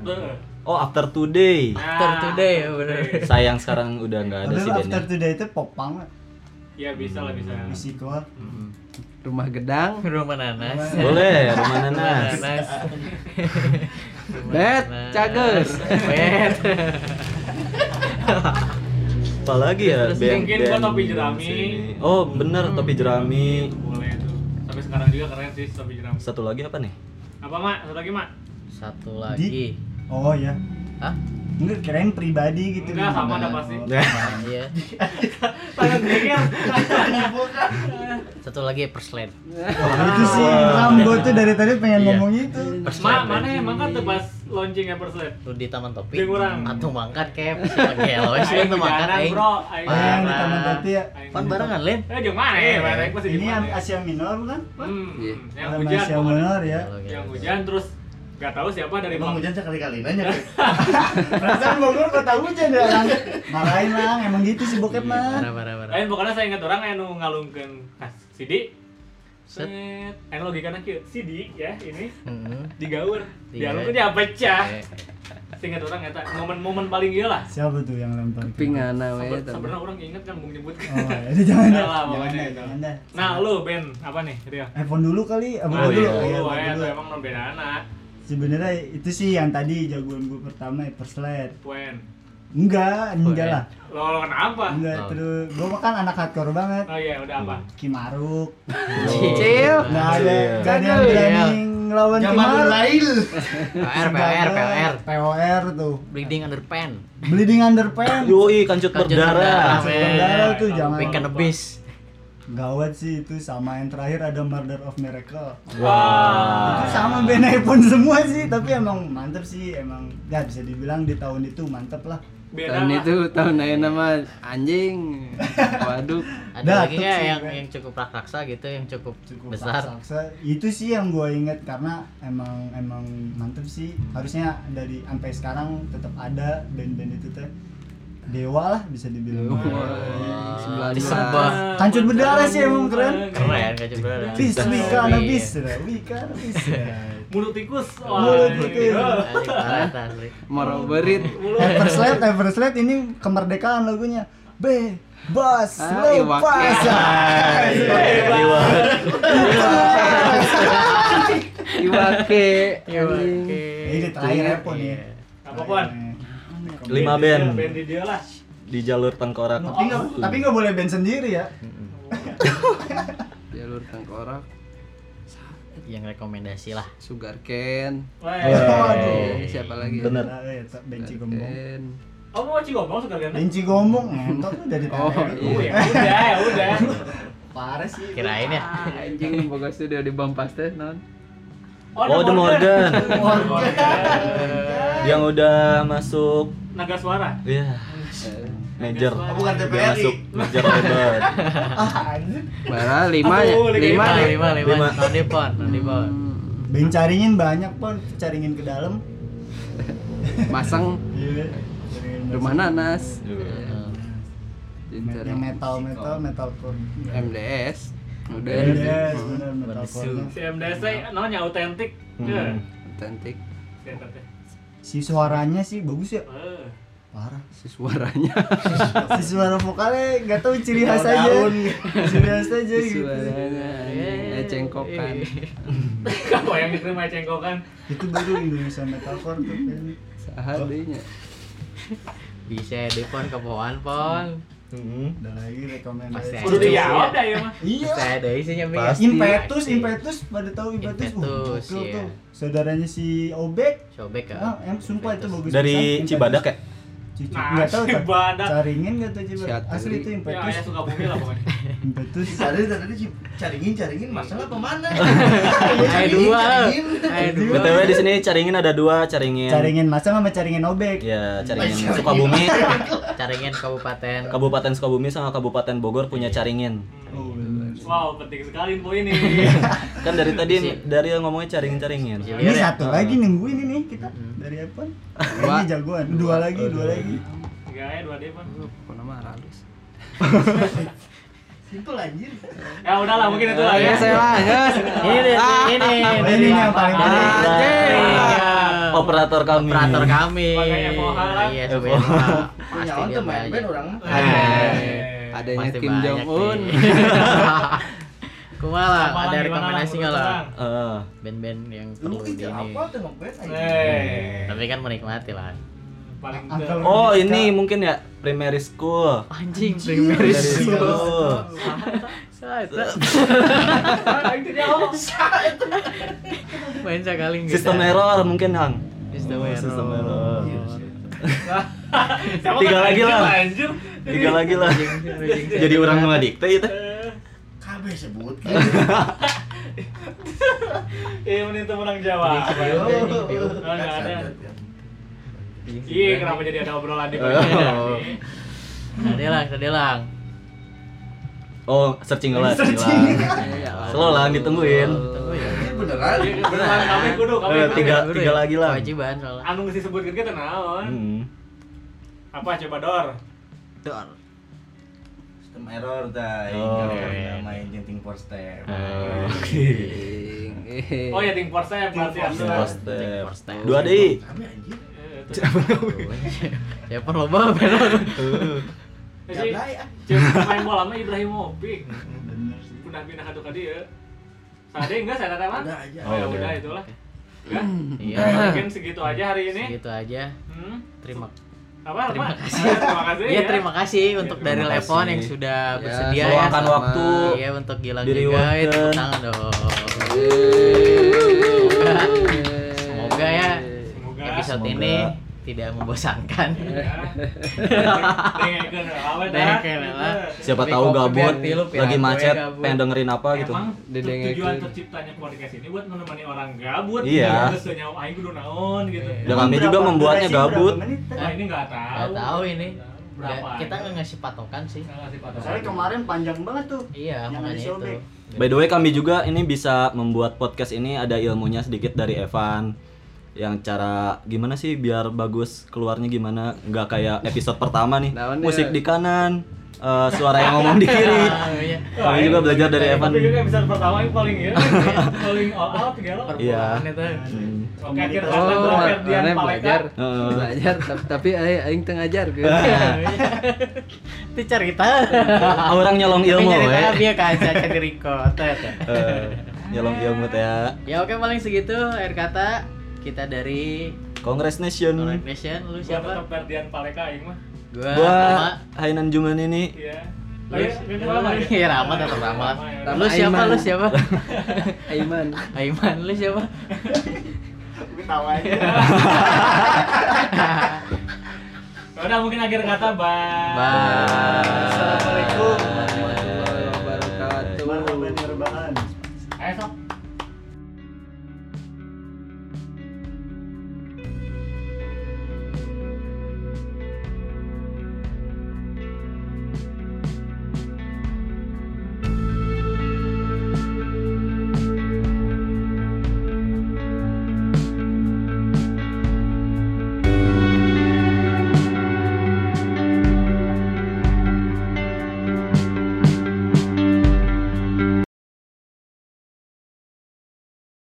Speaker 1: Beuh.
Speaker 2: Oh After Today.
Speaker 1: Nah,
Speaker 3: After today ya, bener.
Speaker 1: today.
Speaker 2: Sayang sekarang udah nggak ada
Speaker 5: Padahal
Speaker 2: sih
Speaker 5: after
Speaker 2: bandnya.
Speaker 5: today itu popang lah.
Speaker 1: Iya bisa lah bisa Mm-hmm.
Speaker 5: Musikal.
Speaker 4: Rumah Gedang
Speaker 3: Rumah nanas.
Speaker 2: Boleh, Rumah Nanas.
Speaker 3: Nanas.
Speaker 4: Bet Cager
Speaker 3: Bet.
Speaker 2: Apalagi ya
Speaker 3: Terus
Speaker 2: band,
Speaker 1: mungkin gua
Speaker 2: band
Speaker 1: topi
Speaker 2: di
Speaker 1: jerami.
Speaker 2: sini. Oh bener topi jerami.
Speaker 1: Itu Boleh tuh Tapi sekarang juga keren sih Tapi jeram
Speaker 2: Satu lagi apa nih?
Speaker 1: Apa Mak? Satu lagi Mak?
Speaker 3: Satu lagi.
Speaker 5: Oh ya.
Speaker 3: Hah?
Speaker 5: Enggak keren pribadi gitu.
Speaker 1: Enggak sama ada pasti
Speaker 3: Iya.
Speaker 1: Tangan geger
Speaker 3: Satu lagi perslen.
Speaker 5: Itu sih Rambo tuh dari tadi pengen
Speaker 3: Iya.
Speaker 5: ngomong itu.
Speaker 1: Mak mana yang mangkat tuh pas launching ya, Eversled?
Speaker 3: Lu di taman topi.
Speaker 1: Di kurang.
Speaker 3: Atau mangkat kep. Pakai LOS lu
Speaker 1: Aing
Speaker 3: tuh Oh, eh, iya, mangkat
Speaker 1: hujanan,
Speaker 3: aing.
Speaker 1: bro. Aing
Speaker 5: Oh, yang di
Speaker 3: Parah.
Speaker 5: Taman Topi ya.
Speaker 1: Aing-
Speaker 3: Pan barengan Len.
Speaker 1: Eh jeng mana ya? Mana yang masih di
Speaker 5: Ini yang
Speaker 1: mana ya?
Speaker 5: Asia Minor bukan?
Speaker 1: Hmm,
Speaker 4: Iya.
Speaker 1: yang
Speaker 5: Orang
Speaker 1: hujan
Speaker 5: Asia
Speaker 1: pokoknya.
Speaker 5: Minor ya.
Speaker 1: yang hujan terus gak tahu siapa dari
Speaker 6: Emang
Speaker 1: Bang
Speaker 6: hujan sekali-kali nanya.
Speaker 5: Perasaan Bogor kota hujan ya lang. Marahin lang, emang gitu sih bokep mah.
Speaker 3: Parah parah parah.
Speaker 1: lain Eh, pokoknya saya ingat orang anu ngalungkeun kas CD set
Speaker 3: Set.
Speaker 1: anu logikana kieu CD ya ini
Speaker 3: Heeh.
Speaker 1: digaur
Speaker 3: Iya.
Speaker 1: dialungkeun dia pecah
Speaker 3: Iya.
Speaker 1: ingat orang eta momen-momen paling ieu lah
Speaker 5: Siapa tuh yang lempar?
Speaker 4: Pingana we
Speaker 1: Sabe- sebenarnya orang inget kan bung nyebut
Speaker 5: iya, Oh, itu jangan
Speaker 1: Udah
Speaker 5: dah.
Speaker 1: lah,
Speaker 5: Jangan
Speaker 1: pokoknya
Speaker 5: dah,
Speaker 1: itu.
Speaker 5: jangan dah.
Speaker 1: nah lu Ben apa nih Rio
Speaker 5: iPhone dulu kali, apa
Speaker 1: Nah, iya,
Speaker 5: dulu? Iya,
Speaker 1: dulu,
Speaker 5: apa
Speaker 1: ya,
Speaker 5: dulu?
Speaker 1: tuh emang berbeda anak
Speaker 5: Sebenarnya itu sih yang tadi jagoan gue pertama Eversled.
Speaker 1: Wen
Speaker 5: Enggak, enggak
Speaker 3: ya?
Speaker 5: lah.
Speaker 1: lo lo kenapa
Speaker 5: Enggak
Speaker 3: Oh.
Speaker 5: terus gue makan anak hardcore banget.
Speaker 1: oh iya udah apa
Speaker 5: Kimaruk.
Speaker 4: Cicil
Speaker 5: Enggak ada,
Speaker 2: Iya.
Speaker 5: enggak ada yang berani ngelawan
Speaker 6: Zaman
Speaker 5: Kimaruk.
Speaker 6: Ulail.
Speaker 3: POR POR
Speaker 5: Enggak ada.
Speaker 3: POR.
Speaker 5: POR tuh.
Speaker 3: Bleeding underpants.
Speaker 5: Bleeding underpants.
Speaker 2: Yoi kancut
Speaker 3: Kancut
Speaker 2: berdarah.
Speaker 3: berdarah.
Speaker 5: Masuk penjara tuh
Speaker 1: Kalau
Speaker 5: jangan.
Speaker 3: Pick and a beast.
Speaker 5: Gawat sih itu sama yang terakhir ada Murder of Miracle.
Speaker 1: wah
Speaker 5: Itu sama band iPhone semua sih, tapi emang mantep sih, emang ya bisa dibilang di tahun itu mantep lah.
Speaker 1: beda
Speaker 4: Tahun
Speaker 1: lah.
Speaker 4: itu tahun lain nama anjing. Waduh.
Speaker 3: Ada
Speaker 5: Dah,
Speaker 3: lagi
Speaker 5: tuh
Speaker 3: nggak
Speaker 5: sih,
Speaker 3: yang
Speaker 5: Ben.
Speaker 3: yang cukup raksasa gitu, yang cukup,
Speaker 5: Cukup
Speaker 3: besar?
Speaker 5: raksasa. Itu sih yang gue inget karena emang emang mantep sih. Harusnya dari sampai sekarang tetap ada band-band itu teh dewa lah bisa dibilang. Iya.
Speaker 4: Sebelah
Speaker 3: Disembah.
Speaker 5: Kancut berdarah sih emang keren.
Speaker 3: Keren kan coba
Speaker 2: Iya.
Speaker 3: ada.
Speaker 5: Bis, wika, bis, wika, bis.
Speaker 1: mulut tikus
Speaker 5: Mulut
Speaker 1: Wah,
Speaker 3: gitu.
Speaker 5: tikus.
Speaker 1: iya.
Speaker 3: Asli banget, asli.
Speaker 4: Mau berit.
Speaker 5: Eversled, Eversled ini kemerdekaan lagunya. B, iya, bas, Iya.
Speaker 4: Ah,
Speaker 5: lepas.
Speaker 4: Iwaki.
Speaker 2: Iya,
Speaker 4: Iwake.
Speaker 3: Oke.
Speaker 5: Ini terakhir Epon ya.
Speaker 1: Apa pun?
Speaker 2: Lima band.
Speaker 1: Band di dia lah.
Speaker 2: Di jalur tengkorak.
Speaker 5: Tapi nggak, tapi nggak boleh band sendiri ya.
Speaker 2: Hmm.
Speaker 4: Jalur tengkorak.
Speaker 3: Yang rekomendasi lah.
Speaker 4: Sugar Cane.
Speaker 5: Waduh.
Speaker 4: Eh, siapa lagi?
Speaker 2: Iya. Bener.
Speaker 5: Iya, Benci gombong.
Speaker 4: Cane.
Speaker 1: Oh mau cigobong suka ganda?
Speaker 5: Benci gombong, entok tuh dari
Speaker 4: Oh,
Speaker 5: tadi.
Speaker 1: Oh, ya udah ya udah.
Speaker 5: Parah sih.
Speaker 3: Kirain ya.
Speaker 4: Anjing bogas tuh dia di Bampas teh non.
Speaker 2: Oh, The Morgan. Yang udah masuk
Speaker 1: Naga suara.
Speaker 2: ya
Speaker 4: Eh,
Speaker 2: major.
Speaker 1: Oh,
Speaker 6: bukan
Speaker 2: Udah
Speaker 6: TPRI.
Speaker 2: masuk major label.
Speaker 5: Ah, anjir.
Speaker 4: Bara lima ya.
Speaker 1: Aduh,
Speaker 4: Lima
Speaker 3: Lima,
Speaker 4: nih.
Speaker 3: lima,
Speaker 2: Lima.
Speaker 3: lima. Tahun depan, tahun depan.
Speaker 5: Band caringin banyak pun, caringin ke dalam.
Speaker 4: Masang
Speaker 5: Iya. Caringin masuk.
Speaker 4: rumah nanas.
Speaker 1: Iya.
Speaker 4: Iya.
Speaker 5: Yang metal, metal, metalcore.
Speaker 4: MDS. Udah.
Speaker 5: Yes,
Speaker 4: Hmm.
Speaker 5: Iya, benar metalcore.
Speaker 1: Si MDC namanya autentik.
Speaker 2: Hmm.
Speaker 1: Ya.
Speaker 4: Otentik.
Speaker 1: Setan teh.
Speaker 5: Si suaranya sih bagus ya.
Speaker 1: Eh.
Speaker 5: Parah.
Speaker 4: Si suaranya.
Speaker 5: si suara vokalnya nggak tahu ciri khas aja ciri khas aja
Speaker 4: Si
Speaker 5: gitu
Speaker 4: suaranya. Eh cengkokan.
Speaker 1: Apa yang dikirim aja cengkokan?
Speaker 5: itu baru Indonesia metalcore tuh kayaknya.
Speaker 4: Sahadinya.
Speaker 3: Bisa ya depan ke pohon, pon.
Speaker 2: Hmm.
Speaker 5: udah lagi rekomendasi
Speaker 3: Pasti
Speaker 1: Udah
Speaker 3: Iya.
Speaker 1: dijawab dah ya mah.
Speaker 5: iya
Speaker 3: Bisa ada isinya Bi.
Speaker 2: Pasti.
Speaker 5: impetus impetus pada tahu impetus uh
Speaker 3: Impetus,
Speaker 5: gokil
Speaker 3: iya.
Speaker 5: tuh saudaranya si Obek
Speaker 3: Sobek ya.
Speaker 5: ah em sumpah itu bagus
Speaker 2: Dari
Speaker 5: pisan, Impetus.
Speaker 2: Cibadak ya?
Speaker 5: Cici
Speaker 1: Nah,
Speaker 5: nggak tahu tak
Speaker 1: Cibadak.
Speaker 5: caringin nggak tuh Cibadak
Speaker 4: Ciaturi.
Speaker 5: asli
Speaker 1: Ya,
Speaker 5: itu
Speaker 1: ayah
Speaker 5: impetus
Speaker 1: suka bumi lah pokoknya.
Speaker 6: ya.
Speaker 5: Impetus
Speaker 6: Cari tadi sih caringin caringin masalah apa mana?
Speaker 3: Ayah dua, ayah dua.
Speaker 2: btw di sini caringin ada dua caringin
Speaker 5: caringin masa sama caringin obek
Speaker 2: ya caringin Sukabumi
Speaker 3: Caringin kabupaten.
Speaker 2: Kabupaten Sukabumi sama Kabupaten Bogor punya caringin
Speaker 5: oh,
Speaker 2: iya,
Speaker 5: bener.
Speaker 1: Wow, penting sekali info ini.
Speaker 2: kan dari tadi dari yang ngomongnya Iya. caringin caringin
Speaker 6: Iya,
Speaker 5: ini satu lagi nungguin ini kita dari apa
Speaker 4: Dua.
Speaker 5: ini jagoan dua lagi dua lagi
Speaker 1: Tiga ya, dua deh, Pan.
Speaker 4: Kok nama halus.
Speaker 6: Simpel anjir.
Speaker 1: Ya udahlah, mungkin itu lah
Speaker 2: Iya,
Speaker 1: ya.
Speaker 3: Ini deh, ini
Speaker 5: Ini yang paling
Speaker 3: dari-
Speaker 5: penting.
Speaker 3: dari-
Speaker 2: Iya.
Speaker 3: dari-
Speaker 2: Ah, operator kami
Speaker 3: operator kami.
Speaker 1: Sebagai FOH lah.
Speaker 3: Iya,
Speaker 2: FOH.
Speaker 3: sebagai FOH.
Speaker 6: Punya
Speaker 3: Pasti
Speaker 6: orang
Speaker 3: dia
Speaker 6: tuh main band
Speaker 3: banyak.
Speaker 6: orang.
Speaker 1: Eh,
Speaker 4: Adanya
Speaker 3: Pasti
Speaker 4: Kim
Speaker 3: banyak
Speaker 4: Jong Un.
Speaker 3: nih. Kumala,
Speaker 1: apaan
Speaker 3: ada
Speaker 1: gimana
Speaker 3: rekomendasi nggak
Speaker 1: menurut
Speaker 3: lah?
Speaker 1: orang?
Speaker 2: Eh,
Speaker 3: Band-band yang
Speaker 6: Lu
Speaker 3: perlu di
Speaker 6: kerja
Speaker 3: ini.
Speaker 6: apa tuh ngeband aja?
Speaker 1: Eh,
Speaker 3: Tapi kan menikmati lah.
Speaker 1: paling
Speaker 5: Uncle
Speaker 2: oh ini mungkin ya primary school
Speaker 3: Anjing,
Speaker 2: primary
Speaker 3: primeris.
Speaker 2: school
Speaker 3: Saya itu
Speaker 1: Ah, itu dia, oh.
Speaker 3: main sekali nggak
Speaker 2: sistem
Speaker 3: ada.
Speaker 2: error mungkin Iya, yang
Speaker 3: Sistem
Speaker 2: Oh,
Speaker 3: error.
Speaker 2: sistem error.
Speaker 1: Sama
Speaker 2: Tiga
Speaker 1: kan
Speaker 2: lagi
Speaker 1: anjir
Speaker 2: lah.
Speaker 1: Anjir.
Speaker 2: tiga lagi lah jadi orang iya, ngeladikte itu
Speaker 1: Eh,
Speaker 6: KB sebut.
Speaker 1: Iya, ini tuh menang Jawa. Oh, nggak ada. Iya, kenapa jadi ada obrolan di ya? bagian
Speaker 2: Oh.
Speaker 1: ini?
Speaker 3: Sadelang, sadelang.
Speaker 2: oh searching lah searching lah. Iya, slow lah ditungguin
Speaker 3: Tunggu ya.
Speaker 6: Ini beneran.
Speaker 1: Iya, beneran, kami kudu, kami
Speaker 2: Eh,
Speaker 1: kudu.
Speaker 2: tiga
Speaker 3: Dulu
Speaker 2: tiga
Speaker 3: ya,
Speaker 2: lagi lah
Speaker 3: Kewajiban soalnya.
Speaker 1: Anu nggak disebut kita naon?
Speaker 2: Hmm.
Speaker 1: Apa coba dor?
Speaker 6: Sistem error tadi.
Speaker 2: Oh.
Speaker 6: main jenting for step.
Speaker 2: Eh,
Speaker 1: Oh ya ting force berarti anu.
Speaker 2: oke
Speaker 1: Eh,
Speaker 2: Step.
Speaker 3: First step.
Speaker 2: dua deh
Speaker 6: Kami anjir.
Speaker 1: itu.
Speaker 3: Ya pun loba benar.
Speaker 1: Eh,
Speaker 6: Siap
Speaker 1: si-
Speaker 6: lah ya.
Speaker 1: Cek main bola mah Ibrahimovic.
Speaker 5: bener sih
Speaker 1: Udah pindah satu kali ya. Sade enggak saya tanya mah?
Speaker 6: Udah aja.
Speaker 1: Oh, ya
Speaker 2: Udah.
Speaker 1: udah itulah. Ya,
Speaker 3: Iya.
Speaker 1: mungkin segitu aja hari ini.
Speaker 3: Segitu aja.
Speaker 1: Hmm.
Speaker 3: Terima
Speaker 1: Apa?
Speaker 3: Terima
Speaker 1: Apa?
Speaker 3: kasih.
Speaker 1: Eh, terima kasih.
Speaker 3: Iya, terima kasih untuk
Speaker 1: terima
Speaker 3: dari
Speaker 2: kasih.
Speaker 3: Lepon yang sudah
Speaker 4: Ya,
Speaker 3: bersedia ya.
Speaker 2: meluangkan
Speaker 4: sama.
Speaker 2: waktu
Speaker 3: Iya, untuk Gilang
Speaker 2: Diri
Speaker 3: juga.
Speaker 2: Wagen.
Speaker 3: Itu tangan dong. Semoga ya
Speaker 1: Semoga
Speaker 3: episode
Speaker 2: Semoga.
Speaker 3: ini tidak membosankan.
Speaker 1: Ya. Dengerin, awet, dah.
Speaker 3: Dengerin, lah.
Speaker 2: siapa
Speaker 3: Tapi
Speaker 2: tahu
Speaker 3: kalau
Speaker 2: gabut
Speaker 3: kemudian tilup ya,
Speaker 2: lagi
Speaker 3: gue
Speaker 2: macet
Speaker 3: gabut.
Speaker 2: pengen dengerin apa gitu
Speaker 1: Emang
Speaker 4: Dedeng
Speaker 1: tujuan
Speaker 4: itu.
Speaker 1: terciptanya podcast ini buat menemani orang gabut.
Speaker 2: Iya.
Speaker 1: Terus nyawa aing kudu naon gitu.
Speaker 2: Dan kami
Speaker 5: Berapa
Speaker 2: juga membuatnya
Speaker 5: durasi, berapa
Speaker 2: gabut.
Speaker 5: menit tadi?
Speaker 1: Nah, ini enggak tahu.
Speaker 3: Iya. Nggak tahu ini. Nggak-
Speaker 1: Berapa?
Speaker 3: kita nggak ngasih patokan sih.
Speaker 1: Nggak ngasih patokan.
Speaker 5: Soalnya kemarin panjang banget tuh.
Speaker 3: Eh. Iya,
Speaker 5: Jangan
Speaker 3: makanya itu.
Speaker 5: disobek.
Speaker 2: By the way kami juga ini bisa membuat podcast ini ada ilmunya sedikit dari Evan yang cara gimana sih biar bagus keluarnya gimana nggak kayak episode pertama nih
Speaker 1: Nah,
Speaker 4: Naon ya?
Speaker 2: musik di kanan eh, suara yang ngomong di kiri
Speaker 3: Ah, iya.
Speaker 2: kami juga belajar dari Evan
Speaker 1: iya, Tapi juga episode pertama yang paling ya, paling all out gitu.
Speaker 2: Iya.
Speaker 3: Perbualan itu.
Speaker 2: Hmm.
Speaker 1: Oke, akhir
Speaker 5: Oh,
Speaker 1: kata terakhir
Speaker 4: ma-
Speaker 1: Dian
Speaker 4: mana
Speaker 1: Paleka.
Speaker 4: belajar,
Speaker 2: Heeh.
Speaker 4: belajar, tap- tapi aing aing teu ngajar gitu.
Speaker 3: Itu cerita.
Speaker 2: orang nyolong ilmu we.
Speaker 3: Tapi cerita dia kaca jadi record.
Speaker 2: Eh, nyolong ilmu teh ya.
Speaker 3: Ya oke paling segitu akhir kata kita dari
Speaker 2: Kongres Nation
Speaker 3: Connect Nation
Speaker 1: Gua
Speaker 3: lu
Speaker 1: tetap
Speaker 3: siapa?
Speaker 1: Ferdian Paleka aing mah.
Speaker 3: Gua Rama.
Speaker 2: gua Hainan Juman ini
Speaker 1: Iya.
Speaker 3: Lu-
Speaker 1: Tapi ini lama ya?
Speaker 3: Iya Rama tetap Rama.
Speaker 1: ya.
Speaker 3: Lu
Speaker 4: Rama
Speaker 3: siapa?
Speaker 4: Aiman.
Speaker 3: Lu siapa?
Speaker 4: Aiman.
Speaker 3: Aiman lu siapa?
Speaker 5: Ketawa aja.
Speaker 1: Ya Udah mungkin akhir kata, bye.
Speaker 3: Bye.
Speaker 4: Assalamualaikum warahmatullahi wabarakatuh.
Speaker 5: Kemarin rebahan.
Speaker 1: Ayo, sok.